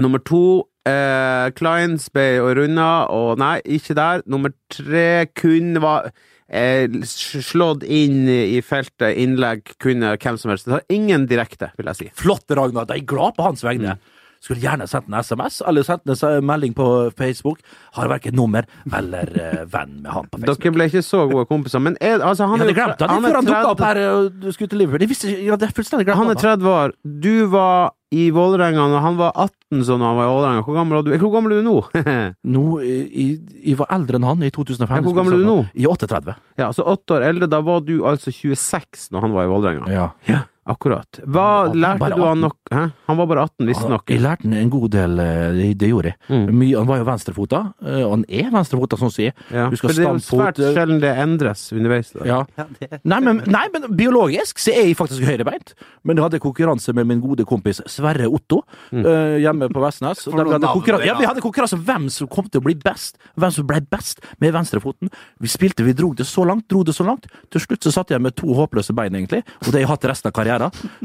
[SPEAKER 3] Nummer to eh, Klein spei og runda, og nei, ikke der. Nummer tre kun var eh, slått inn i feltet. Innlegg kunne hvem som helst. Det har ingen direkte, vil jeg si.
[SPEAKER 2] Flott, Ragnar. De er glad på hans vegne.
[SPEAKER 3] Mm.
[SPEAKER 2] Skulle gjerne sendt en SMS eller sendt en s- melding på Facebook. Har verken nummer eller eh, venn med han på Facebook.
[SPEAKER 3] Dere ble ikke så gode kompiser, men er, altså,
[SPEAKER 2] Jeg
[SPEAKER 3] han
[SPEAKER 2] hadde
[SPEAKER 3] jo-
[SPEAKER 2] glemt han
[SPEAKER 3] han
[SPEAKER 2] før han dukka opp
[SPEAKER 3] 30
[SPEAKER 2] her eh, og du skulle til Liverpool. Jeg visste ikke, jeg hadde fullstendig glemt
[SPEAKER 3] Han er
[SPEAKER 2] han, da.
[SPEAKER 3] 30 år. Du var i Vålerenga når han var 18, sånn han var i Vålerenga. Hvor gammel er du? Hvor gammel er du nå?
[SPEAKER 2] Nå, jeg, jeg var eldre enn han i 2005.
[SPEAKER 3] Ja, hvor gammel er du nå?
[SPEAKER 2] I 38.
[SPEAKER 3] Ja, så åtte år eldre, da var du altså 26 når han var i Vålerenga.
[SPEAKER 2] Ja.
[SPEAKER 3] Akkurat. Hva
[SPEAKER 2] Han var
[SPEAKER 3] lærte
[SPEAKER 2] bare
[SPEAKER 3] du han nok Hæ? Han var bare 18,
[SPEAKER 2] Han-
[SPEAKER 3] visstnok.
[SPEAKER 2] Jeg lærte han en god del, eh, det, det gjorde jeg.
[SPEAKER 3] Mm.
[SPEAKER 2] Mye, han var jo venstrefota, eh, og han er venstrefota, sånn som jeg.
[SPEAKER 3] Ja.
[SPEAKER 2] Du
[SPEAKER 3] For
[SPEAKER 2] skal
[SPEAKER 3] det er jo
[SPEAKER 2] stamme
[SPEAKER 3] svært
[SPEAKER 2] fot.
[SPEAKER 3] sjelden det endres underveis. Da.
[SPEAKER 2] Ja. Nei, men, nei, men biologisk så er jeg faktisk høyrebeint. Men jeg hadde konkurranse med min gode kompis Sverre Otto eh, hjemme på Vestnes. Og da vi,
[SPEAKER 4] noen
[SPEAKER 2] hadde
[SPEAKER 4] navn
[SPEAKER 2] konkurran-
[SPEAKER 4] det,
[SPEAKER 2] ja,
[SPEAKER 4] ja.
[SPEAKER 2] vi hadde konkurranse om hvem som kom til å bli best. Hvem som ble best med venstrefoten. Vi spilte, vi dro det så langt, dro det så langt. Til slutt så satt jeg med to håpløse bein, egentlig. Og det har jeg hatt resten av karrieren.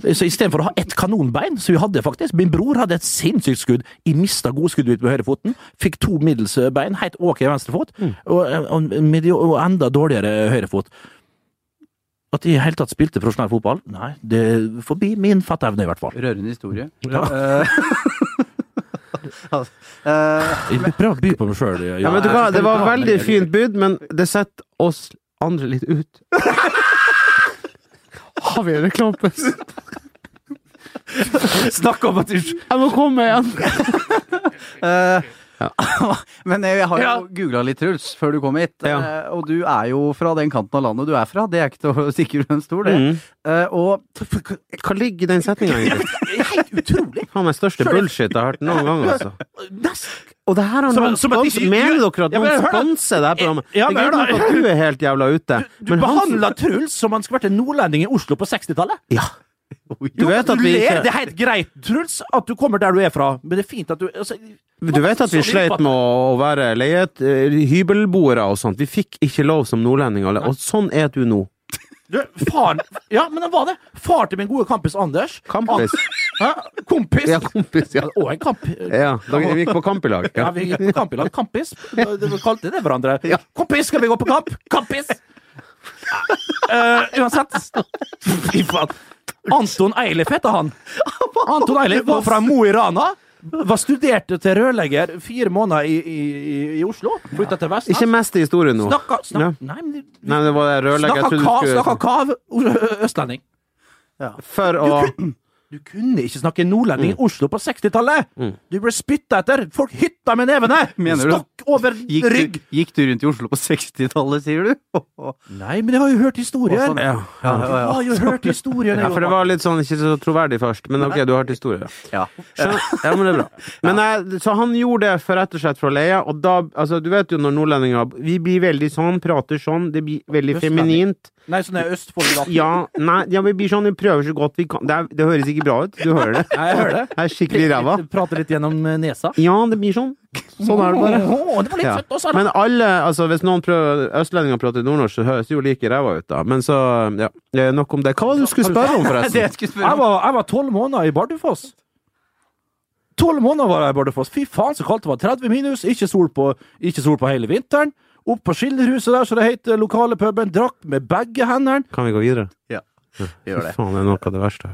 [SPEAKER 2] Så istedenfor å ha ett kanonbein, som vi hadde faktisk Min bror hadde et sinnssykt skudd. Jeg mista godskuddet mitt med høyrefoten. Fikk to middels bein, helt ok venstrefot, og, og, medio- og enda dårligere høyrefot. At de i hele tatt spilte profesjonell fotball? Nei, det er forbi min fatteevne, i hvert fall.
[SPEAKER 4] Rørende historie.
[SPEAKER 2] Eh.
[SPEAKER 4] Altså, eh.
[SPEAKER 2] Jeg prøver å by på meg sjøl.
[SPEAKER 3] Ja, vet du hva? Det var veldig fint bud, men det setter oss andre litt ut. Har vi en reklameplass?
[SPEAKER 2] Snakk om at du
[SPEAKER 3] Jeg må komme igjen!
[SPEAKER 4] Eh, Men jeg har jo googla litt, Truls, før du kom hit.
[SPEAKER 3] Ja.
[SPEAKER 4] Eh, Og du er jo fra den kanten av landet du er fra. Det er ikke til å stikke under en stol, det. Eh, Og
[SPEAKER 3] Hva ligger i den setninga, egentlig?
[SPEAKER 2] Helt utrolig!
[SPEAKER 3] Faen meg største bullshit jeg har hørt noen gang, altså.
[SPEAKER 2] Nest.
[SPEAKER 3] Og det her har
[SPEAKER 2] Som-
[SPEAKER 3] noen
[SPEAKER 2] som at de-
[SPEAKER 3] spons- Mener dere at
[SPEAKER 2] Ja, men
[SPEAKER 3] noen
[SPEAKER 2] hør da.
[SPEAKER 3] sponser det her programmet? Det
[SPEAKER 2] Ja,
[SPEAKER 3] er
[SPEAKER 2] men hør da.
[SPEAKER 3] greit nok at du er helt jævla ute,
[SPEAKER 2] Du
[SPEAKER 3] men han
[SPEAKER 2] behandler Truls som han skulle vært en nordlending i Oslo på 60-tallet!
[SPEAKER 3] Ja. Du
[SPEAKER 2] Jo,
[SPEAKER 3] vet at vi
[SPEAKER 2] ler, Det
[SPEAKER 3] ikke
[SPEAKER 2] er helt greit, Truls, at du kommer der du er fra, men det er fint at du altså,
[SPEAKER 3] du vet at vi sleit med å å være leiet, eh, hybelboere og sånt. Vi fikk ikke lov som nordlendinger, og sånn er du nå.
[SPEAKER 2] du, Faren Ja, men han var det! Far til min gode kompis Anders.
[SPEAKER 3] Kampis.
[SPEAKER 2] Hæ? Kompis!
[SPEAKER 3] Ja, kompis, ja.
[SPEAKER 2] Og en kamp...
[SPEAKER 3] ja da, vi gikk på kamp i lag.
[SPEAKER 2] Ja,
[SPEAKER 3] Ja.
[SPEAKER 2] vi gikk på kamp i lag. Kampis. Vi kalte det hverandre. Kompis, skal vi gå på kamp? Kampis! Eh, uansett. Fy faen. Anton Eilif heter han. Anton Eilif var fra Mo i Rana. Var studerte til rørlegger fire måneder i, i, i, i Oslo. Flytta til Vestnes.
[SPEAKER 3] Ikke mest i historien nå.
[SPEAKER 2] Snakka, snak,
[SPEAKER 3] Ja.
[SPEAKER 2] Nei, men
[SPEAKER 3] Nei, men det var det rørlegger jeg
[SPEAKER 2] snakka,
[SPEAKER 3] trodde
[SPEAKER 2] kav,
[SPEAKER 3] du
[SPEAKER 2] snakka
[SPEAKER 3] skulle
[SPEAKER 2] kav, ø- østlending.
[SPEAKER 3] For å
[SPEAKER 2] Du kunne ikke snakke nordlending
[SPEAKER 3] Mm.
[SPEAKER 2] i Oslo på 60-tallet! Du ble spytta etter! Folk hytta med nevene!
[SPEAKER 4] Mener du?
[SPEAKER 2] Stokk over
[SPEAKER 4] Gikk
[SPEAKER 2] rygg!
[SPEAKER 4] du, gikk du rundt i Oslo på 60-tallet, sier du?
[SPEAKER 2] Nei, men jeg har jo hørt historier!
[SPEAKER 4] Å, sånn, ja. Ja, ja,
[SPEAKER 2] Jeg
[SPEAKER 4] ja.
[SPEAKER 2] har jo hørt historier!
[SPEAKER 3] Ja, for det var litt sånn ikke så troverdig først, men ok, du har til historie.
[SPEAKER 4] Ja.
[SPEAKER 3] Skjønner? Ja, men det er bra. Men jeg, så han gjorde det for rett og slett for å leie, og da Altså, du vet jo når nordlendinger Vi blir veldig sånn, prater sånn, det blir veldig feminint.
[SPEAKER 2] Nei, sånn er Østfold-latter.
[SPEAKER 3] Ja, nei, ja, vi blir sånn, vi prøver så godt vi kan. Det, er, det høres ikke bra ut, du hører det?
[SPEAKER 2] Nei, jeg hører det.
[SPEAKER 3] Jeg er skikkelig ræva.
[SPEAKER 2] Prater litt gjennom eh, nesa.
[SPEAKER 3] Ja, det blir sånn. Sånn er det bare.
[SPEAKER 2] Å, det var litt
[SPEAKER 3] Ja.
[SPEAKER 2] søtt også, da.
[SPEAKER 3] Men alle, altså hvis noen prøver østlendinger prater nordnorsk, så høres det jo like ræva ut, da. Men så, ja. Eh, Nok om det. Hva var det du skulle spørre om,
[SPEAKER 4] Det
[SPEAKER 3] forresten?
[SPEAKER 4] jeg skulle spørre
[SPEAKER 2] Jeg
[SPEAKER 4] om.
[SPEAKER 2] var- jeg var tolv måneder i Bardufoss. Tolv måneder var jeg i Bardufoss. Fy faen, så kaldt det var. 30 minus, ikke sol på, ikke sol på hele vinteren. Opp på Skilderhuset der, så det heter lokale puben. Drakk med begge hendene.
[SPEAKER 3] Kan vi gå videre?
[SPEAKER 4] Ja, vi gjør det.
[SPEAKER 3] Faen, det er noe av det verste.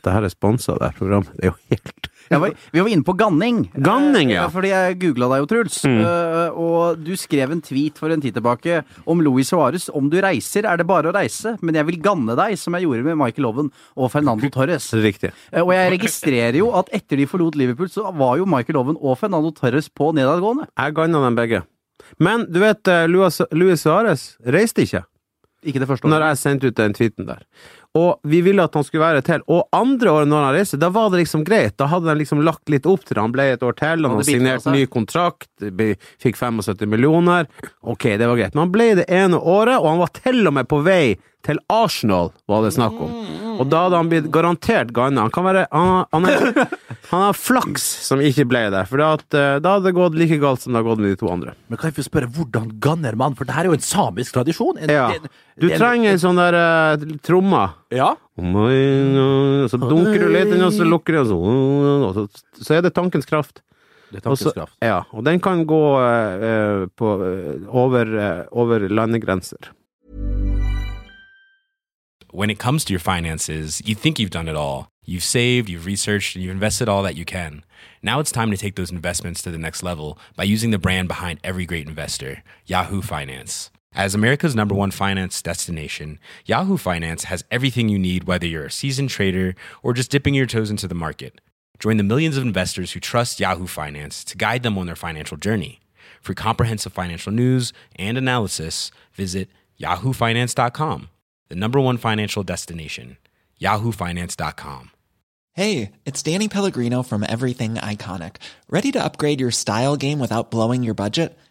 [SPEAKER 3] Det her er sponsa, det her programmet. Det er jo helt
[SPEAKER 4] Jeg var, vi var inne på ganning.
[SPEAKER 3] Ganning, ja.
[SPEAKER 4] Ja, fordi jeg googla deg jo, Truls. Eh, og du skrev en tweet for en tid tilbake om Louis Suárez. Om du reiser, er det bare å reise, men jeg vil ganne deg, som jeg gjorde med Michael Owen og Fernando Torres.
[SPEAKER 3] Riktig.
[SPEAKER 4] Eh, og jeg registrerer jo at etter de forlot Liverpool, så var jo Michael Owen og Fernando Torres på nedadgående.
[SPEAKER 3] Jeg ganna dem begge. Men du vet, eh, Luis Luis Suárez reiste ikke
[SPEAKER 4] Ikke det første
[SPEAKER 3] når
[SPEAKER 4] året.
[SPEAKER 3] jeg sendte ut den tweeten der. Og vi ville at han skulle være til. Og andre året når han reiste, da var det liksom greit. Da hadde de liksom lagt litt opp til det. Han ble et år til, han
[SPEAKER 4] Og
[SPEAKER 3] hadde
[SPEAKER 4] det bitet
[SPEAKER 3] signert
[SPEAKER 4] seg.
[SPEAKER 3] ny kontrakt, det ble- fikk 75 millioner. Ok, det var greit. Men han ble det ene året, og han var til og med på vei til Arsenal, var det snakk om. Og da hadde han blitt garantert ganna. Han kan være Han, han, er, han har flaks som ikke ble der, for da hadde det gått like galt som det har gått med de to andre.
[SPEAKER 2] Men kan jeg få spørre hvordan ganner man? For det her er jo en samisk tradisjon. En,
[SPEAKER 3] Ja.
[SPEAKER 2] en-
[SPEAKER 3] Du
[SPEAKER 2] en-
[SPEAKER 3] trenger en sånn der uh, tromme.
[SPEAKER 2] Ja.
[SPEAKER 3] Så dunker du litt, og så lukker du, og så, og så, så er det tankens kraft.
[SPEAKER 2] Det er
[SPEAKER 3] Og så-
[SPEAKER 2] tankeskraft.
[SPEAKER 3] ja, og den kan gå eh, eh, på, eh, over, eh, over landegrenser.
[SPEAKER 5] When it comes to your finances, you think you've done it all. You've saved, you've researched, and you've invested all that you can. Now it's time to take those investments to the next level by using the brand behind every great investor, Yahoo Finance. As America's number one finance destination, Yahoo Finance has everything you need, whether you're a seasoned trader or just dipping your toes into the market. Join the millions of investors who trust Yahoo Finance to guide them on their financial journey. For comprehensive financial news and analysis, visit yahoofinance.com, the number one financial destination, yahoofinance.com.
[SPEAKER 6] Hey, it's Danny Pellegrino from Everything Iconic. Ready to upgrade your style game without blowing your budget?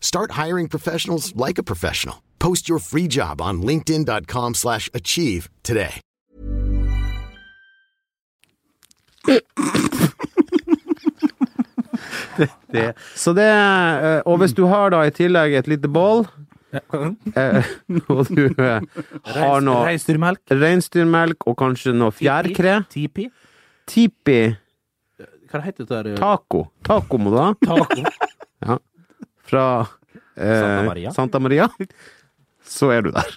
[SPEAKER 7] Start hiring professionals like a professional. Post your free job on linkedin.com/achieve slash achieve today.
[SPEAKER 3] Så det, eh, og hvis du har da i tillegg et lite bål, eh, og du eh, har noe
[SPEAKER 2] Reinsdyrmelk.
[SPEAKER 3] reinsdyrmelk og kanskje noe fjærkre.
[SPEAKER 2] Tipi.
[SPEAKER 3] Tipi
[SPEAKER 2] Hva heter det der?
[SPEAKER 3] taco. Taco må du ha.
[SPEAKER 2] Taco.
[SPEAKER 3] Fra eh,
[SPEAKER 2] Santa Maria.
[SPEAKER 3] Santa Maria. Så er du der.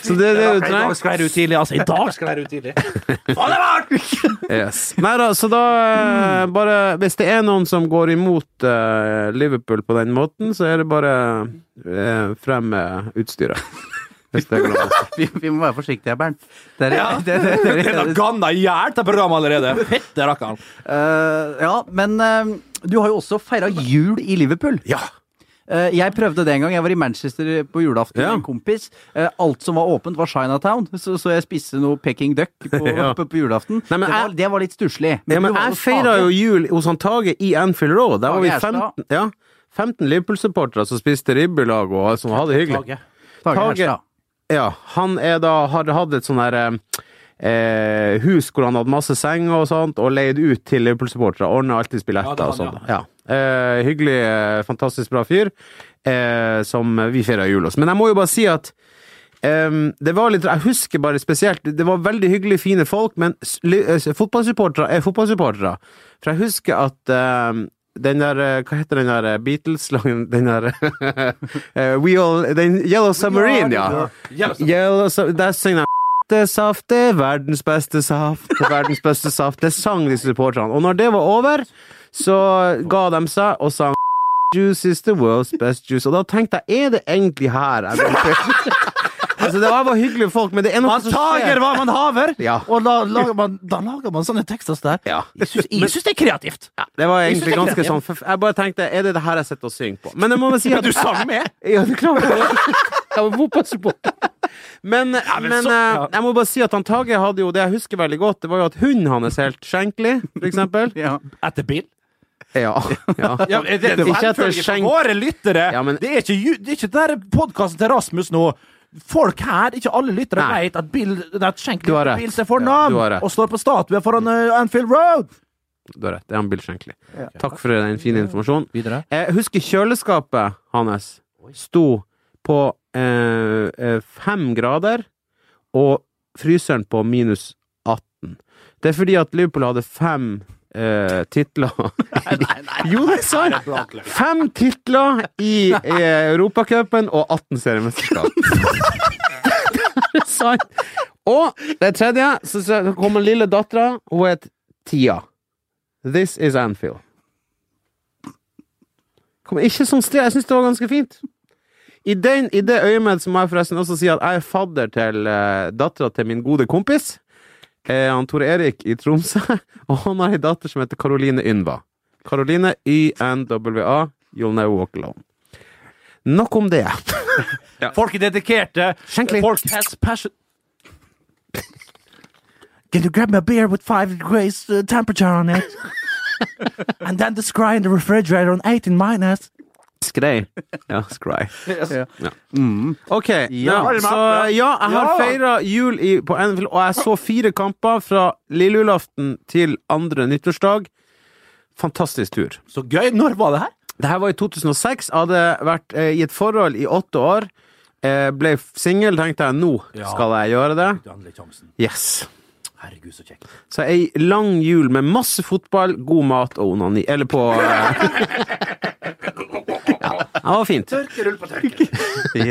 [SPEAKER 3] Så det er det
[SPEAKER 2] I dag
[SPEAKER 3] du trenger.
[SPEAKER 2] skal jeg være ute tidlig, altså. I dag skal jeg være ute tidlig. Faen, det er varmt!
[SPEAKER 3] Yes. Nei da, så da eh, bare Hvis det er noen som går imot eh, Liverpool på den måten, så er det bare eh, frem med utstyret. Hvis det går an.
[SPEAKER 4] Vi, vi må være forsiktige her, Bernt. Det er,
[SPEAKER 2] Ja.
[SPEAKER 4] det, det, det,
[SPEAKER 2] Den har ganna i hjel til programmet allerede. Fette rakkeren.
[SPEAKER 4] Eh, ja, men eh, du har jo også feira jul i Liverpool.
[SPEAKER 2] Ja.
[SPEAKER 4] Eh, jeg prøvde det en gang. Jeg var i Manchester på julaften
[SPEAKER 3] Ja.
[SPEAKER 4] med en kompis. Eh, alt som var åpent, var Chinatown, så, så jeg spiste noe Peking Duck på,
[SPEAKER 3] Ja.
[SPEAKER 4] på, på julaften.
[SPEAKER 3] Nei, men
[SPEAKER 4] det, var,
[SPEAKER 3] jeg-
[SPEAKER 4] det var litt stusslig.
[SPEAKER 3] Ja, men
[SPEAKER 4] du var
[SPEAKER 3] jeg feira jo
[SPEAKER 4] stadig-
[SPEAKER 3] jul hos han Tage i Anfield Road. Der var
[SPEAKER 4] Tage
[SPEAKER 3] vi
[SPEAKER 4] Gjerstad.
[SPEAKER 3] 15, ja, 15 Liverpool-supportere som spiste ribbe i lag og som hadde det hyggelig.
[SPEAKER 4] Tage
[SPEAKER 3] Tage-
[SPEAKER 4] Herstad.
[SPEAKER 3] Ja, han er da, har hatt et sånn her eh, hus hvor han hadde masse senger og sånt, og leid ut til Liverpool-supportere. Ordna alltid
[SPEAKER 2] Ja,
[SPEAKER 3] billetter
[SPEAKER 2] det er han,
[SPEAKER 3] og sånt. Ja. Eh, hyggelig, eh, fantastisk bra fyr, eh, som vi feira jul hos. Men jeg må jo bare si at eh, det var litt, Jeg husker bare spesielt Det var veldig hyggelige, fine folk, men s- li- eh, fotballsupportere er fotballsupportere. For jeg husker at eh, den der eh, Hva heter den der eh, Beatles-sangen? Den der eh, We All Den Yellow Submarine, ja. Yellow Sub- Der synger de det er saft, det er verdens beste saft, det er verdens beste saft. Det sang de supporterne. Og når det var over, så ga de seg og sang Juice is the world's best juice. Og da tenkte jeg, er det egentlig her jeg vil til? Altså, det var bare hyggelige folk, men det er noe
[SPEAKER 2] Man tager hva man haver,
[SPEAKER 3] Ja.
[SPEAKER 2] og da lager man, da lager man sånne tekster som det her.
[SPEAKER 3] Ja.
[SPEAKER 2] Jeg syns- Jeg syns det er kreativt.
[SPEAKER 3] Det var
[SPEAKER 2] Jeg synes
[SPEAKER 3] egentlig
[SPEAKER 2] det er
[SPEAKER 3] ganske sånn
[SPEAKER 2] kreativt.
[SPEAKER 3] forf- Jeg bare tenkte, er det det her jeg sitter og synger på? Men jeg må bare si at
[SPEAKER 2] Du sang med.
[SPEAKER 3] Ja, det klarer jeg. Jeg var fotballsupporter. Men, men,
[SPEAKER 2] men så-
[SPEAKER 3] eh,
[SPEAKER 2] ja.
[SPEAKER 3] jeg må bare si at han Tage hadde jo det jeg husker veldig godt, det var jo at hunden hans er helt skjenkelig, for eksempel.
[SPEAKER 4] Ja.
[SPEAKER 2] Etter bil.
[SPEAKER 3] Ja. ja.
[SPEAKER 2] Ja, men det, det,
[SPEAKER 3] Ikke
[SPEAKER 2] det,
[SPEAKER 3] etter skjenk.
[SPEAKER 2] Våre lyttere!
[SPEAKER 3] Ja, men-
[SPEAKER 2] det, er ikke, ju- det er ikke der podkasten til Rasmus nå. Folk her, ikke alle lyttere,
[SPEAKER 3] Nei.
[SPEAKER 2] vet at Bill at skjenk
[SPEAKER 3] Du har rett.
[SPEAKER 2] Bill seg for
[SPEAKER 3] Ja,
[SPEAKER 2] navn
[SPEAKER 3] du har rett.
[SPEAKER 2] og står på statue foran eh, Anfield Road!
[SPEAKER 3] Du har rett, det er han Bill Skjenkeli. Takk for den fine informasjonen. Jeg Eh, husker kjøleskapet hans sto på eh, eh, fem grader, og fryseren på minus 18. Det er fordi at Liverpool hadde fem eh, titler Jo, det er sant! Fem titler i eh, Europacupen og 18 seriemesterskap. Det er sant. Og det tredje, så, så kommer lille dattera, hun het Tia. This is Anfield. Kom, ikke sånn sted. Jeg syns det var ganske fint. I, den, I det øyemed så må jeg forresten også si at jeg er fadder til uh, dattera til min gode kompis, eh, han Tore Erik i Tromsø, og han har ei datter som heter Karoline Ynva. Karoline Y-N-W-A. You'll never walk alone. Nok om det.
[SPEAKER 2] Folk er dedikerte.
[SPEAKER 3] Skjenkelig.
[SPEAKER 2] Folk has passion. Can you grab me a beer with five degrees uh, temperature on it? And then the scry in the refrigerator on 18 minus.
[SPEAKER 3] Skrei. Ja, skrei.
[SPEAKER 4] Ja.
[SPEAKER 2] Mm.
[SPEAKER 3] Ok, ja,
[SPEAKER 2] Varm
[SPEAKER 3] så, ja,
[SPEAKER 2] opp,
[SPEAKER 3] jeg har feira jul i, på Anfield, og jeg så fire kamper fra lille julaften til andre nyttårsdag. Fantastisk tur.
[SPEAKER 2] Så gøy. Når var det her?
[SPEAKER 3] Det her var i 2006. Jeg hadde vært eh, i et forhold i åtte år. Eh, ble singel, tenkte jeg nå skal jeg gjøre det. Yes.
[SPEAKER 2] Herregud, så kjekk.
[SPEAKER 3] Så ei lang jul med masse fotball, god mat og onani. Eller på eh. Ja, det var fint.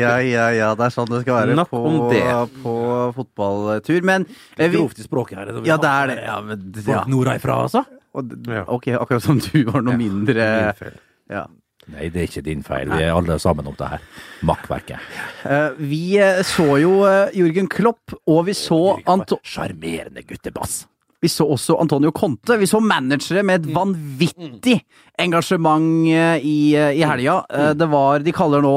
[SPEAKER 4] ja, ja, ja. Det er sånn det skal være
[SPEAKER 3] Nok
[SPEAKER 4] på,
[SPEAKER 3] om det.
[SPEAKER 4] på fotballtur. Men eh, vi,
[SPEAKER 2] Grovt i språket her.
[SPEAKER 4] ja, det er det. Ja, men, ja.
[SPEAKER 2] Folk nordafra, altså?
[SPEAKER 4] Og d- Ok, akkurat som du var noe mindre
[SPEAKER 3] Eh,
[SPEAKER 4] ja.
[SPEAKER 2] Nei, det er ikke din feil. Vi er alle sammen om det her. Makkverket.
[SPEAKER 4] Eh, Vi eh, så jo eh, Jørgen Klopp, og vi så, Anto
[SPEAKER 2] Sjarmerende guttebass.
[SPEAKER 4] vi så også Antonio Conte. Vi så managere med et vanvittig engasjement eh, i, eh, i helga. Eh, Det var De kaller nå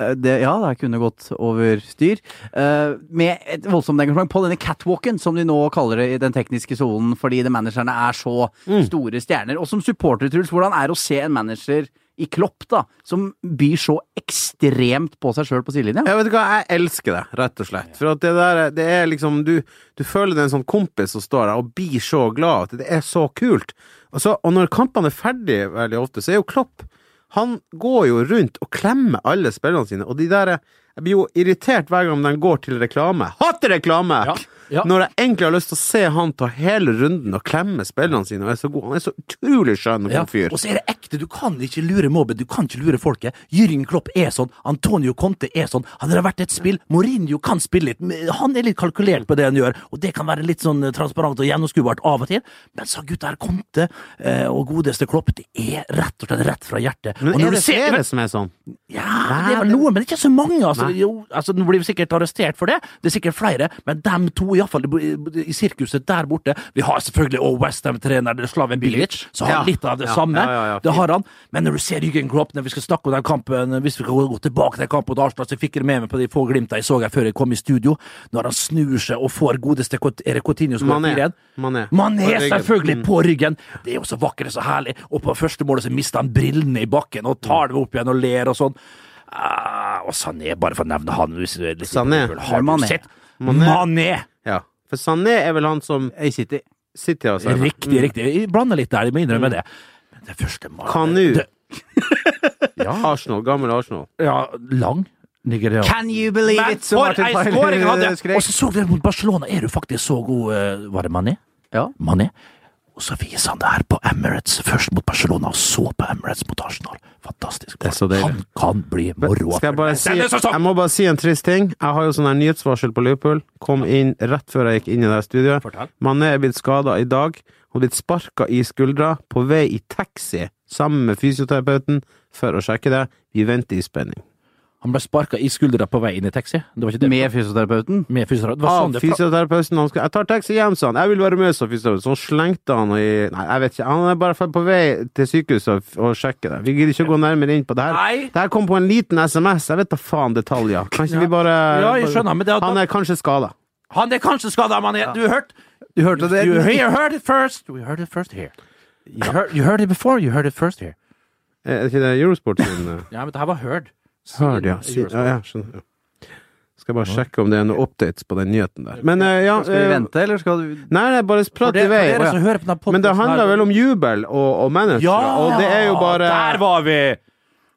[SPEAKER 4] eh, det, ja, det her kunne gått over styr. Eh, med et voldsomt engasjement på denne catwalken, som de nå kaller det i den tekniske sonen, fordi de managerne er så store stjerner. Og som supporter, Truls, hvordan er det å se en manager i Klopp, da, som byr så ekstremt på seg sjøl på sidelinja?
[SPEAKER 3] Jeg vet du hva, jeg elsker det, rett og slett. For at det der, det er liksom Du, du føler det er en sånn kompis som står der og blir så glad at det er så kult. Og, så, og når kampene er ferdig veldig ofte, så er jo Klopp Han går jo rundt og klemmer alle spillerne sine, og de der Jeg blir jo irritert hver gang de går til reklame. Hater reklame!
[SPEAKER 2] Ja, ja.
[SPEAKER 3] Når jeg egentlig har lyst til å se han ta hele runden og klemme spillerne sine, og er så god. Han er så utrolig skjønn og
[SPEAKER 2] Ja,
[SPEAKER 3] god fyr.
[SPEAKER 2] Og så er det ekte. Du kan ikke lure mobben, du kan ikke lure folket. Jürgen Klopp er sånn, Antonio Conte er sånn. Han har vært et spill. Mourinho kan spille litt. men Han er litt kalkulert på det han gjør, og det kan være litt sånn eh, transparent og gjennomskuebart av og til. Men så gutta her, Conte eh, og godeste Klopp, det er rett og slett rett fra hjertet.
[SPEAKER 3] Men
[SPEAKER 2] og når
[SPEAKER 3] er
[SPEAKER 2] du
[SPEAKER 3] det
[SPEAKER 2] ser-
[SPEAKER 3] flere som er sånn?
[SPEAKER 2] ja, det er vel noen, men ikke så mange. Altså, jo, altså, nå blir vi sikkert arrestert for det. Det er sikkert flere, men dem to i, alle fall, i- i sirkuset der borte Vi har selvfølgelig også Westham-trener Slaven Bilic, så har han
[SPEAKER 3] Ja.
[SPEAKER 2] litt av det
[SPEAKER 3] Ja,
[SPEAKER 2] samme.
[SPEAKER 3] ja, ja, ja,
[SPEAKER 2] det har han. Men når du ser Jürgen Klopp, når vi skal snakke om den kampen Hvis vi skal gå tilbake til kampen mot Arsenal, så fikk jeg med meg på de få glimta jeg så her før jeg kom i studio. Når han snur seg og får godeste Cot- Erik Coutinho skåret
[SPEAKER 3] Mané.
[SPEAKER 2] 4-1.
[SPEAKER 3] Mané. På
[SPEAKER 2] Mané,
[SPEAKER 3] ryggen.
[SPEAKER 2] selvfølgelig, på ryggen. Det er jo så vakkert og så herlig. Og på første målet så mister han brillene i bakken og
[SPEAKER 3] Mm.
[SPEAKER 2] tar dem opp igjen og ler og sånn. Ah, og Sané, bare for å nevne han. Hvis du er litt
[SPEAKER 3] Sané.
[SPEAKER 2] Har du
[SPEAKER 8] Mané.
[SPEAKER 2] sett?
[SPEAKER 3] Mané.
[SPEAKER 2] Mané!
[SPEAKER 3] Ja. For Sané er vel han som
[SPEAKER 8] I City.
[SPEAKER 3] sitter her og sier
[SPEAKER 2] Riktig, riktig. Jeg blander litt der, jeg må innrømme det. Men det første målet
[SPEAKER 3] Mm. Kanu.
[SPEAKER 2] Det-
[SPEAKER 3] Arsenal, gammel Arsenal.
[SPEAKER 2] Ja, lang. Nigerian.
[SPEAKER 8] Can you believe
[SPEAKER 2] Men
[SPEAKER 8] it? som
[SPEAKER 2] for
[SPEAKER 8] Martin
[SPEAKER 2] ei
[SPEAKER 8] Feiler
[SPEAKER 2] skåring han hadde!
[SPEAKER 8] skrek.
[SPEAKER 2] Og så så vi det mot Barcelona. Er du faktisk så god eh, Var det Mané?
[SPEAKER 8] Ja.
[SPEAKER 2] Mané. Og så viser han det her på Emirates, først mot Barcelona, og så på Emirates mot Arsenal. Fantastisk.
[SPEAKER 3] er så deilig.
[SPEAKER 2] Han kan bli moro.
[SPEAKER 3] Skal jeg, bare si,
[SPEAKER 2] Denne
[SPEAKER 3] jeg
[SPEAKER 2] sesongen!
[SPEAKER 3] må bare si en trist ting. Jeg har jo sånn her nyhetsvarsel på Liverpool. Kom inn rett før jeg gikk inn i det her
[SPEAKER 2] Fortell.
[SPEAKER 3] studioet. Mané er blitt skada i dag. Hun er blitt sparka i skuldra på vei i taxi sammen med fysioterapeuten for å sjekke det. Vi venter i spenning.
[SPEAKER 2] Han ble sparka i skuldra på vei inn i taxi. Det var ikke det.
[SPEAKER 8] Med fysioterapeuten.
[SPEAKER 2] Med fysioterapeut. Det var
[SPEAKER 3] Av
[SPEAKER 2] sånn det fra-
[SPEAKER 3] fysioterapeuten han skulle, Jeg tar taxi hjem, sa han. Jeg vil være med, sa fysioterapeuten. Så han slengte han i Nei, jeg vet ikke. Han er bare på vei til sykehuset og- og sjekke det. Vi gidder ikke å gå nærmere inn på det her.
[SPEAKER 2] Nei.
[SPEAKER 3] Det her kom på en liten SMS. Jeg vet da faen detaljer. Kan ikke vi bare
[SPEAKER 2] Ja, jeg skjønner, men det er-
[SPEAKER 3] Han er kanskje skada.
[SPEAKER 2] Han er kanskje skada, Mané. Du hørte?
[SPEAKER 8] Du hørte det?
[SPEAKER 2] You, you heard it first. We heard it first here. You heard, you heard it before. You heard it first here.
[SPEAKER 3] Er det ikke det Eurosport sin eh,
[SPEAKER 2] Ja, men det her var heard.
[SPEAKER 3] Hør, ja. Si, ja, ja, skjønner. Ja. Skal jeg bare sjekke om det er noen updates på den nyheten der. Men eh, ja
[SPEAKER 8] Skal vi
[SPEAKER 3] eh,
[SPEAKER 8] vente, eller skal du
[SPEAKER 3] Nei, nei, bare prat i
[SPEAKER 2] Det, for
[SPEAKER 3] vei.
[SPEAKER 2] dere som hører på denne
[SPEAKER 3] Men det
[SPEAKER 2] podcasten her-
[SPEAKER 3] handler vel om jubel og, og mennesker,
[SPEAKER 2] Ja!
[SPEAKER 3] og det er jo bare
[SPEAKER 2] Der var vi!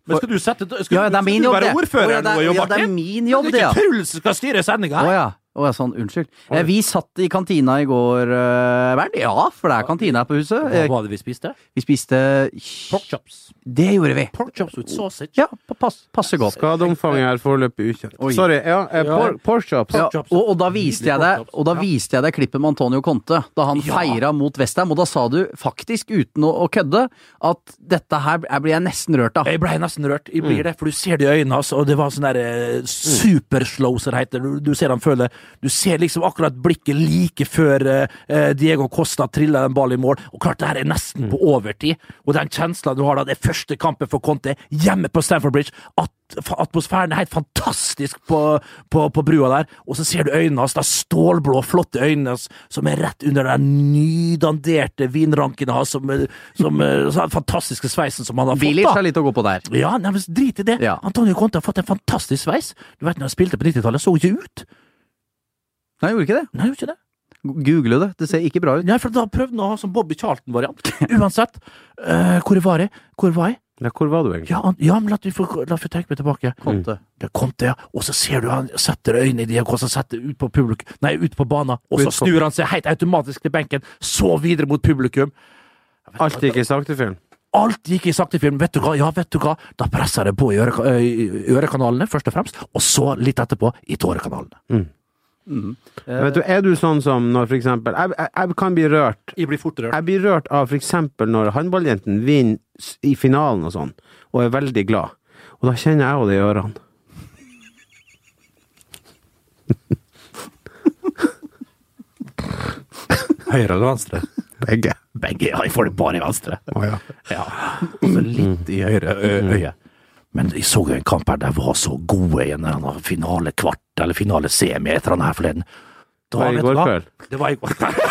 [SPEAKER 2] Men skal du sette skal
[SPEAKER 8] Ja,
[SPEAKER 2] du-
[SPEAKER 8] det er min jobb,
[SPEAKER 2] skal du
[SPEAKER 8] det.
[SPEAKER 2] være ordfører
[SPEAKER 8] Å, ja, det er-
[SPEAKER 2] nå, Jo
[SPEAKER 8] ja, det er
[SPEAKER 2] Martin?
[SPEAKER 8] min jobb,
[SPEAKER 2] Men
[SPEAKER 8] det, ja.
[SPEAKER 2] er ikke Truls som skal styre sendinga
[SPEAKER 8] Å
[SPEAKER 2] her!
[SPEAKER 8] ja. Å ja, sånn. Unnskyld. Eh, Vi satt i kantina i går, uh, Bernt. Ja, for det er kantina her på huset.
[SPEAKER 2] Hva
[SPEAKER 8] Eh,
[SPEAKER 2] var det vi spiste?
[SPEAKER 8] Vi spiste
[SPEAKER 2] Pork chops.
[SPEAKER 8] Det gjorde vi.
[SPEAKER 2] Pork chops with sausage.
[SPEAKER 8] Ja, pa- pass, passe godt.
[SPEAKER 3] Skadeomfanget er foreløpig ukjent. Sorry. Ja, eh, por Porchops.
[SPEAKER 8] Ja,
[SPEAKER 3] Ja.
[SPEAKER 2] Pork chops.
[SPEAKER 8] og, og da viste jeg deg Og da viste jeg deg klippet med Antonio Conte da han
[SPEAKER 2] Ja.
[SPEAKER 8] feira mot Westham, og da sa du faktisk, uten å, å kødde, at dette her jeg blir jeg nesten rørt av.
[SPEAKER 2] Jeg ble nesten rørt, jeg blir det, for du ser det i øynene hans, og det var sånn derre supersloser, heter det. Du, du ser han føler Du ser liksom akkurat blikket like før eh, Diego Costa triller den ballen i mål, og klart det her er nesten på overtid, og den kjensla du har da, det er første kampen for Conte hjemme på Stamford Bridge, at fa- atmosfæren er helt fantastisk på, på, på brua der, og så ser du øynene hans, da stålblå, flotte øynene hans, som er rett under den nydanderte vinranken hans, som, eh, som eh, så den fantastiske sveisen som han har fått,
[SPEAKER 8] Bilic
[SPEAKER 2] da.
[SPEAKER 8] har litt å gå på der.
[SPEAKER 2] Ja, nei, men drit i det.
[SPEAKER 8] Ja.
[SPEAKER 2] Antonio Conte har fått en fantastisk sveis. Du vet når han spilte på 90-tallet, så han ikke ut.
[SPEAKER 8] Nei, jeg gjorde ikke det.
[SPEAKER 2] Nei, han gjorde ikke det.
[SPEAKER 8] Google det. Det ser ikke bra ut.
[SPEAKER 2] Nei, for da prøvde han å ha sånn Bobby Charlton-variant. Uansett, eh, hvor var jeg? Hvor var jeg?
[SPEAKER 3] hvor var du egentlig?
[SPEAKER 2] Ja, han, ja men la meg få la meg få tenke meg tilbake.
[SPEAKER 8] Conte.
[SPEAKER 2] Det kom til, ja. Og så ser du han setter øynene i de, og så setter ut på publikum, nei, ut på banen, og så
[SPEAKER 3] Ut på-
[SPEAKER 2] snur han seg helt automatisk til benken, så videre mot publikum.
[SPEAKER 3] Alt gikk i sakte film.
[SPEAKER 2] Alt gikk i sakte film. Vet du hva? Ja, vet du hva? Da presser det på i øre, i ørekanalene, først og fremst, og så litt etterpå i tårekanalene.
[SPEAKER 3] Vet du, er du sånn som når for eksempel Jeg, jeg, jeg kan bli rørt
[SPEAKER 2] Jeg blir fort rørt.
[SPEAKER 3] Jeg blir rørt av f.eks. når håndballjentene vinner s- i finalen og sånn, og er veldig glad. Og da kjenner jeg jo det i ørene.
[SPEAKER 2] Høyre eller venstre?
[SPEAKER 3] Begge.
[SPEAKER 2] Begge. Ja, jeg får det bare i venstre.
[SPEAKER 3] Å ja. Mm.
[SPEAKER 2] Ja. Og så litt i høyre ø øye. Men jeg så jo en kamp her der var så gode i en eller annen finale kvart eller finale semi etter han her forleden. Da,
[SPEAKER 3] Var det i
[SPEAKER 2] vet du
[SPEAKER 3] går
[SPEAKER 2] hva?
[SPEAKER 3] kveld?
[SPEAKER 2] Det var i går kveld.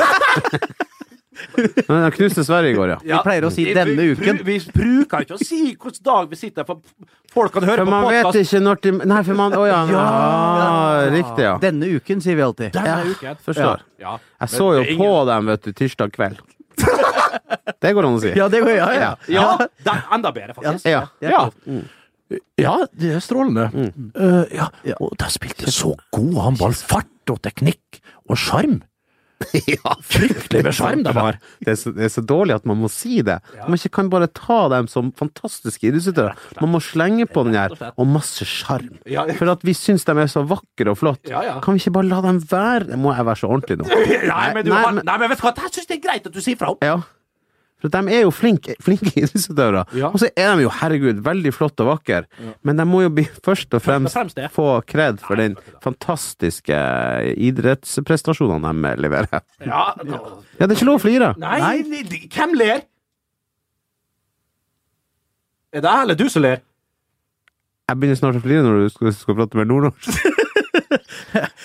[SPEAKER 3] Men de knuste Sverige i går, ja.
[SPEAKER 8] Vi pleier å si 'denne uken'.
[SPEAKER 2] Vi bruker ikke å si hvilken dag vi sitter, for folk kan høre
[SPEAKER 3] For man vet ikke når de Nei, for man Å ja. Ah, riktig, ja.
[SPEAKER 8] Denne uken, sier vi alltid.
[SPEAKER 2] Denne uken.
[SPEAKER 3] Forstår.
[SPEAKER 2] Ja.
[SPEAKER 3] Jeg så jo på dem, vet du, tirsdag kveld. Det går an å si.
[SPEAKER 8] Ja, det går ja, ja.
[SPEAKER 2] Ja, det er enda bedre, faktisk.
[SPEAKER 3] Ja.
[SPEAKER 2] Ja, Mm. ja det er strålende. Eh, ja. Og de spilte så god håndball. Fart og teknikk og sjarm. Fryktelig med sjarm de har.
[SPEAKER 3] Det er, så, det er så dårlig at man må si det. Man ikke kan bare ta dem som fantastiske idrettsutøvere. Man må slenge på den her, og masse sjarm.
[SPEAKER 2] Ja.
[SPEAKER 3] For at vi syns de er så vakre og flott.
[SPEAKER 2] Ja, ja.
[SPEAKER 3] Kan vi ikke bare la dem være? Må jeg være så ordentlig nå?
[SPEAKER 2] Nei, men, du,
[SPEAKER 3] Nei,
[SPEAKER 2] har-
[SPEAKER 3] men-
[SPEAKER 2] nei, men vet du hva, jeg syns det er greit at du sier fra om.
[SPEAKER 3] Ja. For de er jo flinke, flinke idrettsutøvere.
[SPEAKER 2] Ja.
[SPEAKER 3] Og så er de jo, herregud, veldig flott og vakker. Men de må jo bli først og fremst
[SPEAKER 2] fremst det.
[SPEAKER 3] få kred for den fantastiske idrettsprestasjonene de leverer.
[SPEAKER 2] Ja,
[SPEAKER 3] Ja, det er ikke lov å flire!
[SPEAKER 2] Nei, de- hvem ler? Er det jeg eller du som ler?
[SPEAKER 3] Jeg begynner snart å flire når du skal, skal prate mer nordnorsk.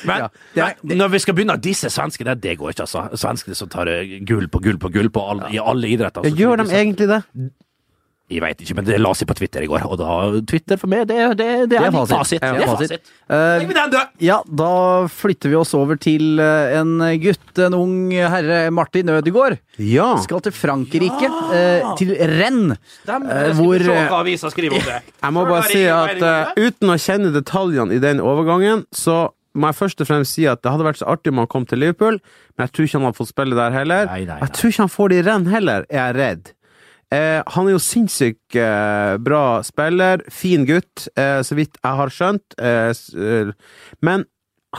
[SPEAKER 2] Men,
[SPEAKER 8] det er-
[SPEAKER 2] men når vi skal begynne å disse svenskene, det går ikke, altså. Svenskene som tar eh, gull på gull på gull på all, i alle idretter.
[SPEAKER 3] Ja,
[SPEAKER 2] så
[SPEAKER 3] gjør
[SPEAKER 2] tror
[SPEAKER 3] de
[SPEAKER 2] jeg ikke-
[SPEAKER 3] egentlig det?
[SPEAKER 2] Jeg vet ikke, men det la seg på Twitter i går, og da Twitter for meg, det, det, det, er, min fasit.
[SPEAKER 8] Ja,
[SPEAKER 2] Det er
[SPEAKER 8] fasit.
[SPEAKER 2] fasit.
[SPEAKER 8] Eh,
[SPEAKER 2] Legg meg den død!
[SPEAKER 8] Ja, da flytter vi oss over til eh, en gutt, en ung herre, Martin Ødegaard.
[SPEAKER 3] Ja.
[SPEAKER 8] Skal til Frankrike, eh, til Rennes. eh,
[SPEAKER 2] Hvor
[SPEAKER 8] hvor
[SPEAKER 2] Se hva
[SPEAKER 8] eh,
[SPEAKER 2] avisa skriver om det.
[SPEAKER 3] Jeg må bare si at eh, uten å kjenne detaljene i den overgangen, så må jeg først og fremst si at det hadde vært så artig om han kom til Liverpool, men jeg tror ikke han hadde fått spille der heller.
[SPEAKER 2] Nei, nei, nei.
[SPEAKER 3] Jeg tror ikke han får det i renn heller, er jeg redd. Eh, han er jo sinnssykt eh, bra spiller, fin gutt, eh, så vidt jeg har skjønt. Eh, s- eh, men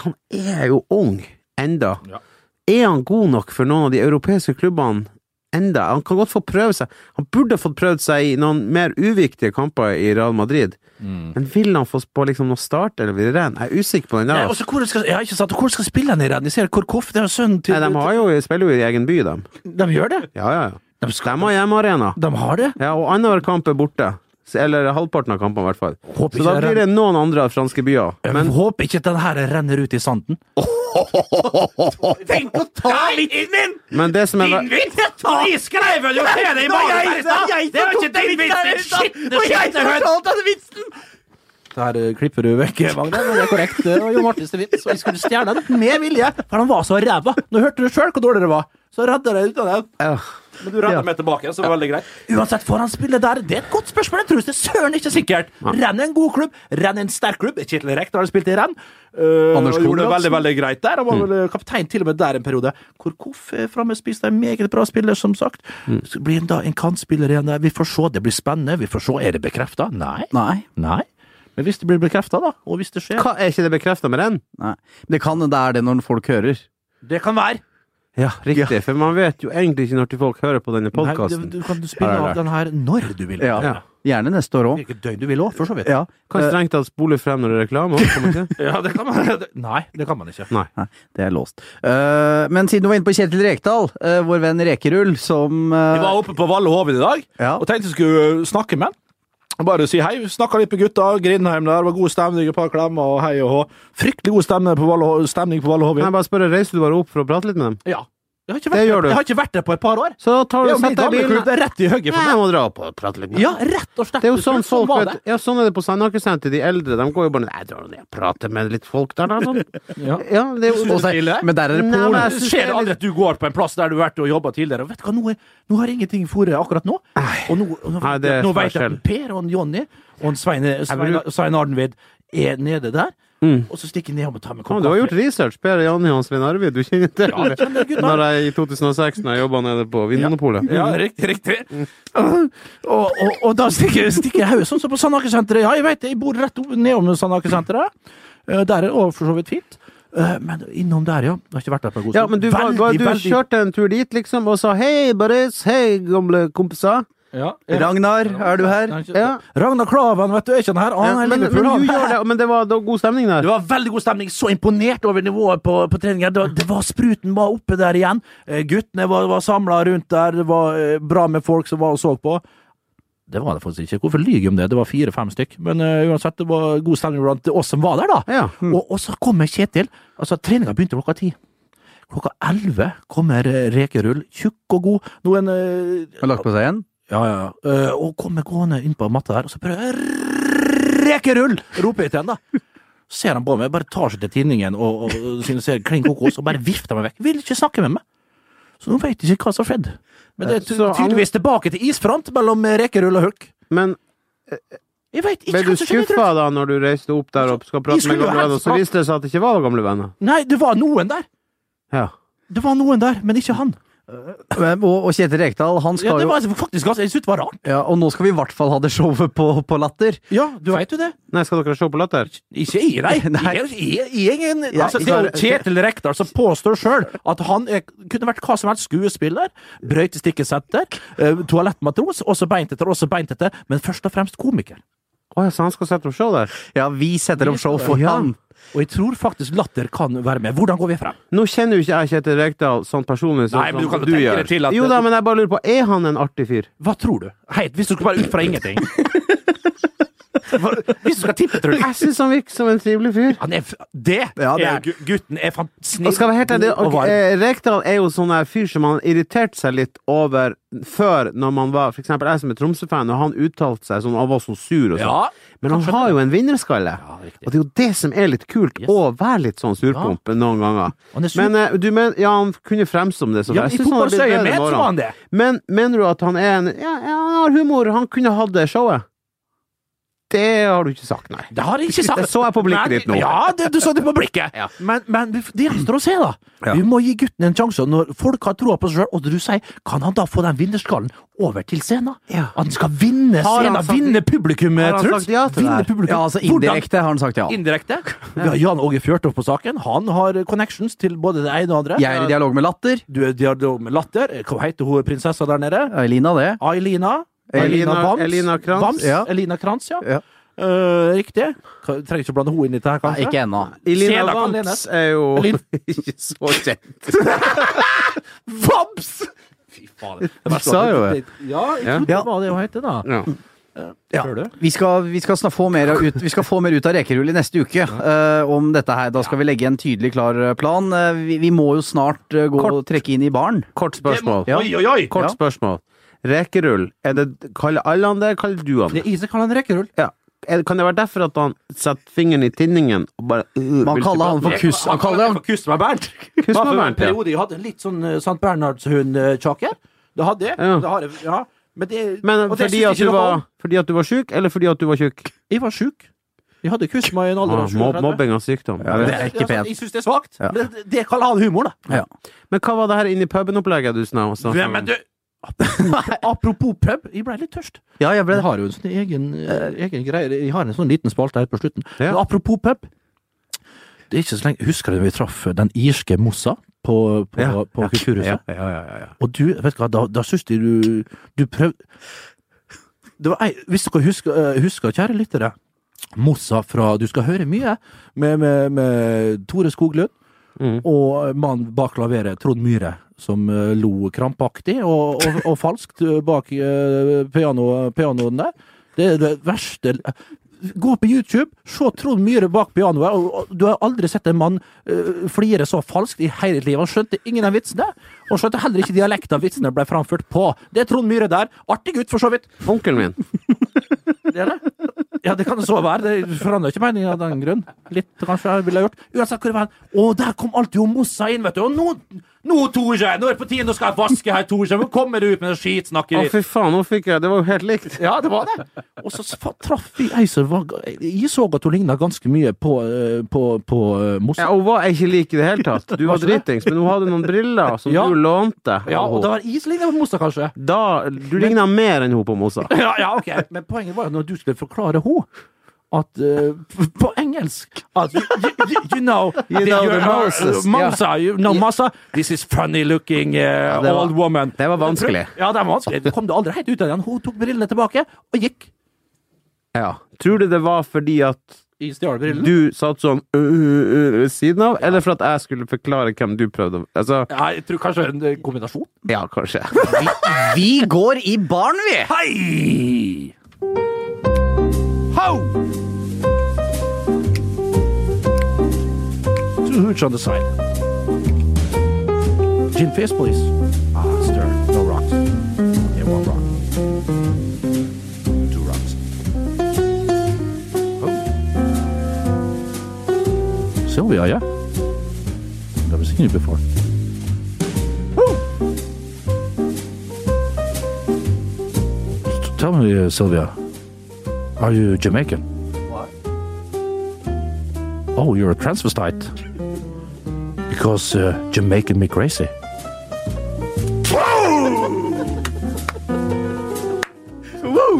[SPEAKER 3] han er jo ung enda.
[SPEAKER 2] Ja.
[SPEAKER 3] Er han god nok for noen av de europeiske klubbene enda? Han kan godt få prøve seg. Han burde ha fått prøvd seg i noen mer uviktige kamper i Real Madrid.
[SPEAKER 2] Mm.
[SPEAKER 3] Men vil han få på liksom noe start, eller vil det renn? Jeg er usikker på den
[SPEAKER 2] Ja,
[SPEAKER 3] der.
[SPEAKER 2] og
[SPEAKER 3] altså.
[SPEAKER 2] så hvor skal, ja, ikke sant, og hvor skal spille han i den? Jeg ser Korkoff, det er jo sønnen til
[SPEAKER 3] Nei, de har jo, spiller jo i egen by, dem.
[SPEAKER 2] De gjør det.
[SPEAKER 3] Ja, ja, ja.
[SPEAKER 2] De,
[SPEAKER 3] De
[SPEAKER 2] skal,
[SPEAKER 3] har hjemmearena.
[SPEAKER 2] de har det.
[SPEAKER 3] Ja, og annenhver kamp er borte. Så- Eller halvparten av kampene, i hvert fall.
[SPEAKER 2] Håper
[SPEAKER 3] Så da
[SPEAKER 2] ikke det
[SPEAKER 3] blir det noen andre franske byer.
[SPEAKER 2] Jeg
[SPEAKER 3] Men
[SPEAKER 2] håper ikke den her renner ut i sanden. Tenk å ta vitsen min!
[SPEAKER 3] Men det som er ver-
[SPEAKER 2] vits! Jeg skrev jo til deg i magen! Det var ikke din vits! Skitne, skitne høn! Der eh, klipper du vekk, Magne. Men det er korrekt. Det var jo Martins vits. Og jeg skulle stjele den med vilje, for han var så ræva. Nå hørte du sjøl hvor dårlig det var. Så redda jeg ut av den.
[SPEAKER 3] Ja.
[SPEAKER 2] Men du redda meg tilbake, så det var veldig greit. Uansett, får han spille der? Det er et godt spørsmål. Jeg tror det er søren ikke sikkert. Renn er en god klubb. Renn er en sterk klubb. Kjetil Rekdal har spilt i renn. Uh,
[SPEAKER 8] Anders
[SPEAKER 2] gjorde det
[SPEAKER 8] Konradsen.
[SPEAKER 2] veldig, veldig greit der. Han var vel eh, kaptein til og med der en periode. Korkoff er framme, spist en meget bra spiller, som sagt. Så blir han da en kantspiller igjen der. Vi får se. Det blir spennende. Vi får se. Er det bekrefta? Nei.
[SPEAKER 8] Nei.
[SPEAKER 2] Nei. Men hvis det blir bekrefta, da, og hvis det skjer
[SPEAKER 3] hva, er ikke det bekrefta med renn?
[SPEAKER 8] Nei. Det kan hende det er det når folk hører.
[SPEAKER 2] Det kan være.
[SPEAKER 3] Ja, riktig. For man vet jo egentlig ikke når til folk hører på denne
[SPEAKER 2] Nei,
[SPEAKER 3] podkasten.
[SPEAKER 2] du, du kan spille
[SPEAKER 3] Her er
[SPEAKER 2] av
[SPEAKER 3] det.
[SPEAKER 2] den her når du vil.
[SPEAKER 8] Ja. Gjerne neste år òg.
[SPEAKER 2] Hvilket døgn du vil òg, for så vidt.
[SPEAKER 8] Ja.
[SPEAKER 3] Kan strengt tatt spole frem når det er reklame. også, kan man ikke?
[SPEAKER 2] Ja, det kan man. Nei, det kan man ikke.
[SPEAKER 8] Nei, det er låst. Eh, men siden du var inne på Kjetil Rekdal, eh, vår venn Rekerull, som eh,
[SPEAKER 2] Jeg var oppe på Valle Hovin i dag
[SPEAKER 8] Ja.
[SPEAKER 2] og tenkte jeg skulle eh, snakke med han. Bare si hei. Snakka litt med gutta. Grindheim der. Var god stemning, et par klemmer og hei og hå. Fryktelig god stemning på Valle, Ho- stemning på Valle
[SPEAKER 3] Kan jeg
[SPEAKER 2] Hovin.
[SPEAKER 3] bare spørre, reiser du bare opp for å prate litt med dem?
[SPEAKER 2] Ja. Jeg har ikke
[SPEAKER 3] Det
[SPEAKER 2] vært,
[SPEAKER 3] gjør du.
[SPEAKER 2] Jeg har ikke vært der på et par år.
[SPEAKER 3] Så da
[SPEAKER 2] Det
[SPEAKER 3] tar du
[SPEAKER 2] er jo min
[SPEAKER 3] sett deg i
[SPEAKER 2] gamle klubb.
[SPEAKER 3] bilen.
[SPEAKER 2] Det er rett i høyre
[SPEAKER 3] Nei,
[SPEAKER 2] for
[SPEAKER 3] jeg
[SPEAKER 2] meg.
[SPEAKER 3] må dra opp og prate litt med
[SPEAKER 2] Ja,
[SPEAKER 3] dem.
[SPEAKER 2] rett og slett.
[SPEAKER 3] Det er jo sånn folk
[SPEAKER 2] var
[SPEAKER 3] vet, ja, Sånn er det på Sandaker-senteret. De eldre de går jo bare Jeg drar ned og prater med litt folk der, da. Sånn.
[SPEAKER 2] Ja.
[SPEAKER 3] Ja, det er jo
[SPEAKER 8] og så- Men der er det
[SPEAKER 3] Nei,
[SPEAKER 8] Polen.
[SPEAKER 3] men jeg
[SPEAKER 2] Det
[SPEAKER 3] synes
[SPEAKER 2] Skjer
[SPEAKER 3] det
[SPEAKER 2] det
[SPEAKER 3] er
[SPEAKER 2] aldri at du går på en plass der du har vært og jobba tidligere? Og Vet du hva, nå, er, nå har ingenting fôret akkurat nå. Og nå, og nå,
[SPEAKER 3] Nei, det er
[SPEAKER 2] nå vet jeg
[SPEAKER 3] forskjell.
[SPEAKER 2] at Per og en Jonny og en Svein, Svein,
[SPEAKER 3] bruker-
[SPEAKER 2] Svein Arnvid er nede der. Og så stikker jeg ned og tar meg en
[SPEAKER 3] Mm. Ja,
[SPEAKER 2] kopp
[SPEAKER 3] du har
[SPEAKER 2] kaffe.
[SPEAKER 3] gjort research, Per Janni og Svein Arvid. Du kjenner til
[SPEAKER 2] Ja, jeg kjenner gutta.
[SPEAKER 3] Når jeg i 2006 når jeg jobba nede på Vinmonopolet. Mm.
[SPEAKER 2] Ja, riktig, riktig. Og, og, og da stikker, stikker hodet sånn som på Sandaker-senteret. Ja, jeg vet det, jeg bor rett opp- nedom Sandaker-senteret. Eh, Der er det også for så vidt fint. Eh, Men innom der, ja. Jeg har ikke vært der på en god
[SPEAKER 3] Ja, men du, var- var- du kjørte en tur dit, liksom, og sa hei, Boris, hei, gamle kompiser.
[SPEAKER 2] ja,
[SPEAKER 8] Ragnar, er du her?
[SPEAKER 3] Ja.
[SPEAKER 2] Ragnar Klavan, vet du, er ikke han her? Han
[SPEAKER 3] Ja,
[SPEAKER 2] er
[SPEAKER 3] men, men,
[SPEAKER 2] Liverpool, han.
[SPEAKER 3] du gjør det, men det var, det var god stemning der.
[SPEAKER 2] Det var veldig god stemning. Så imponert over nivået på, på treninga. Det, det var Spruten var oppe der igjen. Eh, Guttene var, var samla rundt der. Det var eh, bra med folk som var og så på. Det var det faktisk ikke. Hvorfor lyver jeg om det? Det var fire-fem stykk. Men eh, uansett, det var god stemning blant oss som var der, da.
[SPEAKER 3] Ja.
[SPEAKER 4] Mm.
[SPEAKER 2] Og, og så kommer Kjetil. Altså, treninga begynte klokka ti. Klokka elleve kommer eh, Rekerull, tjukk og god. Noen eh,
[SPEAKER 8] Har lagt på seg igjen?
[SPEAKER 2] ja, ja, ja. Eh, og kommer gående inn på matta der, og så prøver jeg Rekerull! Roper jeg til han, da. Så ser han på meg, bare tar seg til tinningen og, og, og sier klin kokos, og bare vifter meg vekk. Vil ikke snakke med meg. Så nå veit ikke hva som har skjedd. Men det er ty-
[SPEAKER 3] Så han-
[SPEAKER 2] tydeligvis tilbake til isfront mellom eh, Rekerull og Hulk.
[SPEAKER 3] Men
[SPEAKER 2] Jeg veit ikke
[SPEAKER 3] ble du
[SPEAKER 2] hva som skjedde. jeg tror.
[SPEAKER 3] skuffa da når du reiste opp der og skal
[SPEAKER 2] Vi
[SPEAKER 3] prate
[SPEAKER 2] skulle
[SPEAKER 3] med
[SPEAKER 2] jo
[SPEAKER 3] gamle venner, og
[SPEAKER 2] helst
[SPEAKER 3] så
[SPEAKER 2] prate-
[SPEAKER 3] viste det seg at det ikke var gamle venner?
[SPEAKER 2] Nei, det var noen der.
[SPEAKER 3] Ja.
[SPEAKER 2] Det var noen der, men ikke han.
[SPEAKER 8] Og, eh, og Kjetil Rekdal, han
[SPEAKER 2] Ja,
[SPEAKER 8] skal
[SPEAKER 2] det
[SPEAKER 8] jo
[SPEAKER 2] var altså, faktisk ganske Jeg syntes det var rart.
[SPEAKER 8] ja, Og nå skal vi i hvert fall ha det showet på, på Latter.
[SPEAKER 2] Ja, du veit jo det.
[SPEAKER 3] Nei, skal dere se på Latter?
[SPEAKER 2] Ikke jeg, nei.
[SPEAKER 8] Nei.
[SPEAKER 2] Jeg, jeg, jeg, er en-
[SPEAKER 8] Ja,
[SPEAKER 2] altså, det er jo Kjetil Rekdal som påstår sjøl at han er, kunne vært hva som helst skuespiller. Brøytestikkesenter, eh, toalettmatros, også beintete, også beintete, men først og fremst komiker.
[SPEAKER 3] Å ja, så han skal sette opp show der?
[SPEAKER 8] Ja, vi setter opp show for
[SPEAKER 2] Ja.
[SPEAKER 8] han.
[SPEAKER 2] Og jeg tror faktisk latter kan være med. Hvordan går vi frem?
[SPEAKER 3] Nå kjenner jo ikke jeg Kjetil Rekdal sånn personlig som
[SPEAKER 2] Nei, men du kan
[SPEAKER 3] som
[SPEAKER 2] jo tenke deg til at-
[SPEAKER 3] Jo da, men jeg bare lurer på, er han en artig fyr?
[SPEAKER 2] Hva tror du? Heit, hvis du skal bare ut fra ingenting. Hva- Hvis du skal tippe, tror du
[SPEAKER 3] Jeg syns han virker som en trivelig fyr.
[SPEAKER 2] han er, f- det,
[SPEAKER 8] Ja, det er-
[SPEAKER 2] er gu- Gutten er fan- snill
[SPEAKER 3] Og skal være helt ærlig,
[SPEAKER 2] god og
[SPEAKER 3] ok,
[SPEAKER 2] varm.
[SPEAKER 3] eh, Rekdal er jo sånn her fyr som han irriterte seg litt over før, når man var For eksempel jeg som er Tromsø-fan, og han uttalte seg sånn og var så sur og sånn.
[SPEAKER 2] Ja,
[SPEAKER 3] Men han har jo en vinnerskalle, og det er jo det som er litt kult,
[SPEAKER 2] Yes.
[SPEAKER 3] å være litt sånn surpomp noen ganger.
[SPEAKER 2] han er sur.
[SPEAKER 3] Men eh, du men, ja, han kunne fremstå det som
[SPEAKER 2] Ja, men
[SPEAKER 3] jeg
[SPEAKER 2] i
[SPEAKER 3] synes han har blitt
[SPEAKER 2] fotballsøye
[SPEAKER 3] bedre
[SPEAKER 2] med
[SPEAKER 3] med
[SPEAKER 2] så
[SPEAKER 3] årene.
[SPEAKER 2] var han det.
[SPEAKER 3] Men mener du at han er en Ja, ja han har humor, han kunne hatt det showet. Det har du ikke sagt, nei.
[SPEAKER 2] Det har jeg ikke sagt.
[SPEAKER 3] Det så jeg på
[SPEAKER 2] Nei,
[SPEAKER 3] blikket ditt nå.
[SPEAKER 2] Ja, det, du så det på blikket.
[SPEAKER 3] Ja.
[SPEAKER 2] Men, men det gjenstår å se, da. Vi må gi gutten en sjanse. Og Når folk har troa på seg sjøl, og du sier kan han da få den vinnerskallen over til scenen?
[SPEAKER 3] Ja.
[SPEAKER 2] Han skal vinne
[SPEAKER 3] Har han
[SPEAKER 2] scenen,
[SPEAKER 3] sagt-
[SPEAKER 2] vinne publikum,
[SPEAKER 3] Har han
[SPEAKER 2] Truls.
[SPEAKER 3] sagt ja til det
[SPEAKER 2] Vinne
[SPEAKER 3] her?
[SPEAKER 2] publikum.
[SPEAKER 8] Ja, altså
[SPEAKER 2] Hvordan-
[SPEAKER 8] Indirekte har han sagt ja.
[SPEAKER 2] Indirekte. Vi har Jan Åge Fjørtoft på saken. Han har connections til både det ene og det andre.
[SPEAKER 8] Jeg er i dialog med Latter.
[SPEAKER 2] Du er i dialog med Latter. Hva heter hun prinsessa der nede?
[SPEAKER 8] Elina, det.
[SPEAKER 2] Ailina.
[SPEAKER 3] Elina-
[SPEAKER 2] Ailina Vams.
[SPEAKER 3] Elina Krantz.
[SPEAKER 2] Vams.
[SPEAKER 8] Ja.
[SPEAKER 2] Elina Krantz, ja.
[SPEAKER 8] Ja.
[SPEAKER 2] Eh, riktig. Ka- Trenger ikke å blande henne inn i dette, her,
[SPEAKER 8] Nei,
[SPEAKER 2] kanskje.
[SPEAKER 8] ikke ennå.
[SPEAKER 3] Elina
[SPEAKER 2] Sela kan
[SPEAKER 3] Vantz
[SPEAKER 2] lenes.
[SPEAKER 3] er jo
[SPEAKER 2] Elin-
[SPEAKER 3] ikke så kjent.
[SPEAKER 2] Vams! Fy faen.
[SPEAKER 3] Du sa jo det.
[SPEAKER 2] Ja, jeg
[SPEAKER 3] Ja.
[SPEAKER 2] trodde det var det hun het, da.
[SPEAKER 3] Ja.
[SPEAKER 8] Ja.
[SPEAKER 2] Hører du?
[SPEAKER 8] Vi skal, vi, skal snak- få mer av ut, vi skal få mer ut av Rekerull i neste uke eh, om dette her. Da skal vi legge en tydelig, klar eh, plan. Eh, vi, vi må jo snart eh, gå og trekke inn i baren.
[SPEAKER 3] Kort spørsmål.
[SPEAKER 8] Ja.
[SPEAKER 2] Oi, oi, oi!
[SPEAKER 3] Kort spørsmål. Rekerull, er det, kaller alle han det, kaller du han
[SPEAKER 2] Det er
[SPEAKER 3] det?
[SPEAKER 2] Ise kaller han rekkerull.
[SPEAKER 3] Ja. Er, kan det være derfor at han setter fingeren i tinningen og bare øh,
[SPEAKER 8] Man
[SPEAKER 3] vil
[SPEAKER 8] kaller han for
[SPEAKER 3] tilbake?
[SPEAKER 8] kuss. Han kaller han
[SPEAKER 2] for Kuss meg Bernt.
[SPEAKER 3] Kuss meg,
[SPEAKER 2] Det var
[SPEAKER 3] Bernt,
[SPEAKER 2] en
[SPEAKER 3] ja.
[SPEAKER 2] periode jeg hadde litt sånn eh, St. Bernhardshund-kjake. Det hadde jeg.
[SPEAKER 3] Ja.
[SPEAKER 2] Det har jeg, ja. Men det
[SPEAKER 3] Men
[SPEAKER 2] og det
[SPEAKER 3] fordi
[SPEAKER 2] synes jeg
[SPEAKER 3] at,
[SPEAKER 2] ikke
[SPEAKER 3] du
[SPEAKER 2] noe om.
[SPEAKER 3] var, fordi at du var sjuk, eller fordi at du var tjukk?
[SPEAKER 2] Jeg var sjuk. Jeg hadde kuss meg i en alder
[SPEAKER 3] Ah,
[SPEAKER 2] av
[SPEAKER 3] mob,
[SPEAKER 2] 37.
[SPEAKER 3] mobbing av sykdom. Jeg
[SPEAKER 8] det
[SPEAKER 3] vet.
[SPEAKER 8] er ikke pent.
[SPEAKER 2] altså, Jeg syns det er svakt.
[SPEAKER 8] Ja.
[SPEAKER 2] Men det, det kaller han humor, da.
[SPEAKER 3] Men hva var det her inni puben-opplegget du snakket om?
[SPEAKER 2] men du Apropos pub, jeg ble litt tørst.
[SPEAKER 8] Ja, jeg ble
[SPEAKER 2] Jeg har jo en sånn egen, eh, egen greie. Jeg har en sånn liten spalte her på slutten.
[SPEAKER 3] Ja.
[SPEAKER 2] Men apropos pub Det er ikke så lenge Husker du vi traff den irske Mossa på, på,
[SPEAKER 3] Ja.
[SPEAKER 2] på Kulturhuset?
[SPEAKER 3] Ja, ja, ja, ja, ja.
[SPEAKER 2] Og du, vet du hva, da, da syns de du Du prøvde Det var ei Hvis dere husker, eh, husker kjære lyttere, Mossa fra Du skal høre mye med, med, med Tore Skoglund
[SPEAKER 3] Mm.
[SPEAKER 2] og mannen bak klaveret, Trond Myhre, som eh, lo krampaktig og, og, og falskt eh, bak eh, piano, pianoen der. Det er det verste Gå på YouTube, se Trond Myhre bak pianoet, og, og du har aldri sett en mann eh, flire så falskt i hele livet. Han skjønte ingen av vitsene, og skjønte heller ikke dialekten vitsene ble framført på. Det er Trond Myhre der. Artig gutt, for så vidt.
[SPEAKER 3] Onkelen min.
[SPEAKER 2] Det er det. Ja, det kan det så være. Det forandrer ikke meningen av den grunn. Litt kanskje jeg ville ha gjort. Uansett hvor det var. Å, der kom alltid jo Mossa inn, vet du. Og nå, nå Tore, nå er det på tide, nå skal jeg vaske her, Tore. Nå kommer du ut med det
[SPEAKER 3] Å,
[SPEAKER 2] skitsnakkeriet.
[SPEAKER 3] fy faen, nå fikk jeg Det var jo helt likt.
[SPEAKER 2] Ja, det var det. Og så s- fa- traff vi ei som var Jeg så at hun ligna ganske mye på, eh, på, på eh,
[SPEAKER 3] Ja,
[SPEAKER 2] Mossa.
[SPEAKER 3] hun var ikke lik i det hele tatt. Du var dritings, men hun hadde noen briller som
[SPEAKER 2] Ja.
[SPEAKER 3] du lånte.
[SPEAKER 2] Ja,
[SPEAKER 3] av
[SPEAKER 2] og det
[SPEAKER 3] henne.
[SPEAKER 2] var jeg som ligna på Mossa, kanskje.
[SPEAKER 3] da, du ligna mer enn hun på Mossa.
[SPEAKER 2] Ja, ja, ok. Men poenget var jo når du skulle forklare henne at eh, f- På engelsk at you, you, you know
[SPEAKER 3] You know the Moses, ja.
[SPEAKER 2] Mosa, you know Mosa. This is funny looking eh,
[SPEAKER 3] det var-
[SPEAKER 2] old woman.
[SPEAKER 3] det var vanskelig.
[SPEAKER 2] Ja, det var vanskelig. Du kom det aldri helt ut av den. Hun tok brillene tilbake og gikk.
[SPEAKER 3] Ja. Tror du det var fordi at
[SPEAKER 2] I stjal brillene.
[SPEAKER 3] du satt sånn øh, øh, øh, ved siden av, eller for at jeg skulle forklare hvem du prøvde å Altså,
[SPEAKER 2] Ja, jeg tror kanskje en eh, kombinasjon.
[SPEAKER 3] ja, kanskje.
[SPEAKER 8] Vi, vi går i baren, vi!
[SPEAKER 2] Hei! Ho! Two hooch on the side. Gin fizz, please. Ah, stir. No rocks. Yeah, one rock. Two rocks. Oh. Sylvia, yeah? Never seen you before. Woo! Tell me, uh, Sylvia, are you Jamaican? Why? Oh, you're a transvestite. Because uh, Jamaican me crazy.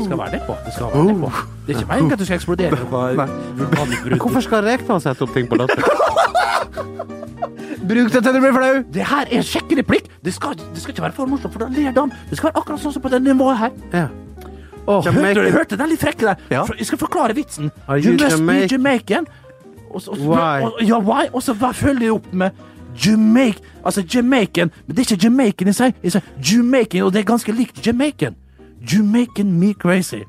[SPEAKER 2] Skal være nedpå. Det skal være nedpå. Det er ikke meningen at du skal eksplodere.
[SPEAKER 3] Hvorfor skal Rekdal sette opp ting på latter?
[SPEAKER 8] Bruk det til du blir flau!
[SPEAKER 2] Det her er en kjekk replikk. Det skal, det skal ikke være for morsomt, for da ler de. Det skal være akkurat sånn som på det nivået her.
[SPEAKER 3] Ja.
[SPEAKER 2] Åh,
[SPEAKER 3] Jamaican.
[SPEAKER 2] hørte du hørte den litt frekke der?
[SPEAKER 8] Ja.
[SPEAKER 2] For- Jeg skal forklare vitsen.
[SPEAKER 3] Are
[SPEAKER 2] You
[SPEAKER 3] you
[SPEAKER 2] must be
[SPEAKER 3] Jamaican?
[SPEAKER 2] Jamaican. Og så, og, så-
[SPEAKER 3] Why?
[SPEAKER 2] Og, ja, why? Og så hva følger jeg opp med Jamaic, altså Jamaican, men det er ikke Jamaican i seg. Jeg sier Jamaican, og det er ganske likt Jamaican. Jamaican me crazy.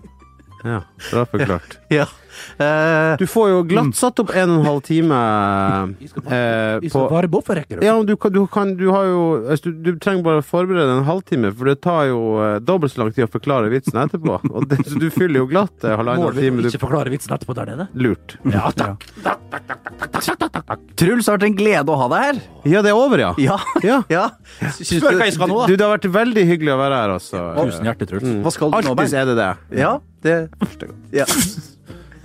[SPEAKER 3] ja, det var forklart.
[SPEAKER 8] Ja. Eh,
[SPEAKER 3] Du får jo glatt satt opp en og en halv time eh,
[SPEAKER 2] Vi
[SPEAKER 3] på
[SPEAKER 2] skal bare boffe, rekker du.
[SPEAKER 3] ja, men du, kan, du, kan, du har jo altså, du, du trenger bare å forberede en halvtime, for det tar jo eh, dobbelt så lang tid å forklare vitsen etterpå. Og det, så du fyller jo glatt eh,
[SPEAKER 2] Må
[SPEAKER 3] halvannen
[SPEAKER 2] vi
[SPEAKER 3] time.
[SPEAKER 2] ikke
[SPEAKER 3] Du,
[SPEAKER 2] forklare vitsen etterpå der nede?
[SPEAKER 3] lurt.
[SPEAKER 2] Ja, takk.
[SPEAKER 8] Truls, det har vært en glede å ha deg her.
[SPEAKER 3] Ja, det er over, ja.
[SPEAKER 8] Ja.
[SPEAKER 3] Ja.
[SPEAKER 8] ja.
[SPEAKER 2] Spør hva jeg skal nå, da.
[SPEAKER 3] Du, det har vært veldig hyggelig å være her, altså.
[SPEAKER 2] Tusen hjertelig, Truls.
[SPEAKER 4] Mm.
[SPEAKER 8] Hva skal du nå,
[SPEAKER 3] Alltid
[SPEAKER 8] Bernt?
[SPEAKER 3] er det det.
[SPEAKER 8] Ja, det, ja.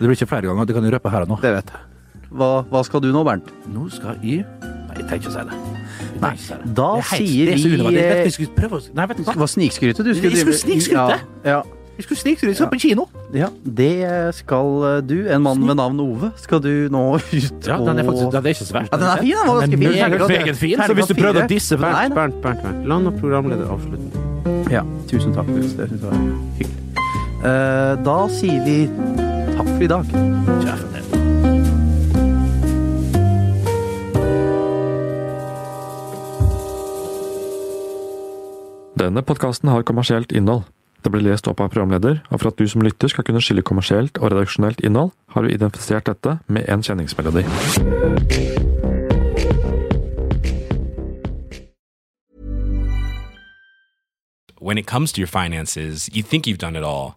[SPEAKER 2] Det blir ikke flere ganger. Det kan jeg røpe her og nå.
[SPEAKER 3] Det vet jeg.
[SPEAKER 8] Hva, hva skal du nå, Bernt?
[SPEAKER 2] Nå skal jeg Nei, jeg trenger ikke å si det. Jeg trenger ikke å si det.
[SPEAKER 8] Da
[SPEAKER 2] Det er helt-
[SPEAKER 8] sier
[SPEAKER 2] det er så
[SPEAKER 8] vi
[SPEAKER 2] unødvendig. Jeg vet
[SPEAKER 8] eh,
[SPEAKER 2] vi skulle prøve å Nei, vet du hva?
[SPEAKER 8] Hva snikskryte du
[SPEAKER 2] Jeg skulle snikskryte.
[SPEAKER 8] Ja, ja.
[SPEAKER 2] Vi skulle snike, vi skal på kino.
[SPEAKER 8] Ja, det skal eh, du, en mann ved navn Ove, skal du nå ut
[SPEAKER 2] Ja, den er faktisk Den er ikke så verst.
[SPEAKER 8] Ja, den er fin, den var ganske fin.
[SPEAKER 2] meget fin, så hvis du
[SPEAKER 8] Terningkast
[SPEAKER 2] prøvde å
[SPEAKER 8] fire.
[SPEAKER 2] disse
[SPEAKER 8] Nei,
[SPEAKER 3] Bernt,
[SPEAKER 8] nei.
[SPEAKER 3] Bernt, Bernt, Bernt. La nå programleder avslutte.
[SPEAKER 8] Ja, tusen takk. Nils. Det synes jeg var hyggelig. Eh, da sier vi takk for i dag.
[SPEAKER 9] Denne podkasten har kommersielt innhold. Det ble lest opp av programleder, og for at du som lytter skal kunne skille kommersielt og redaksjonelt innhold, har vi identifisert dette med en kjenningsmelodi.
[SPEAKER 5] When it comes to your finances, you think you've done it all.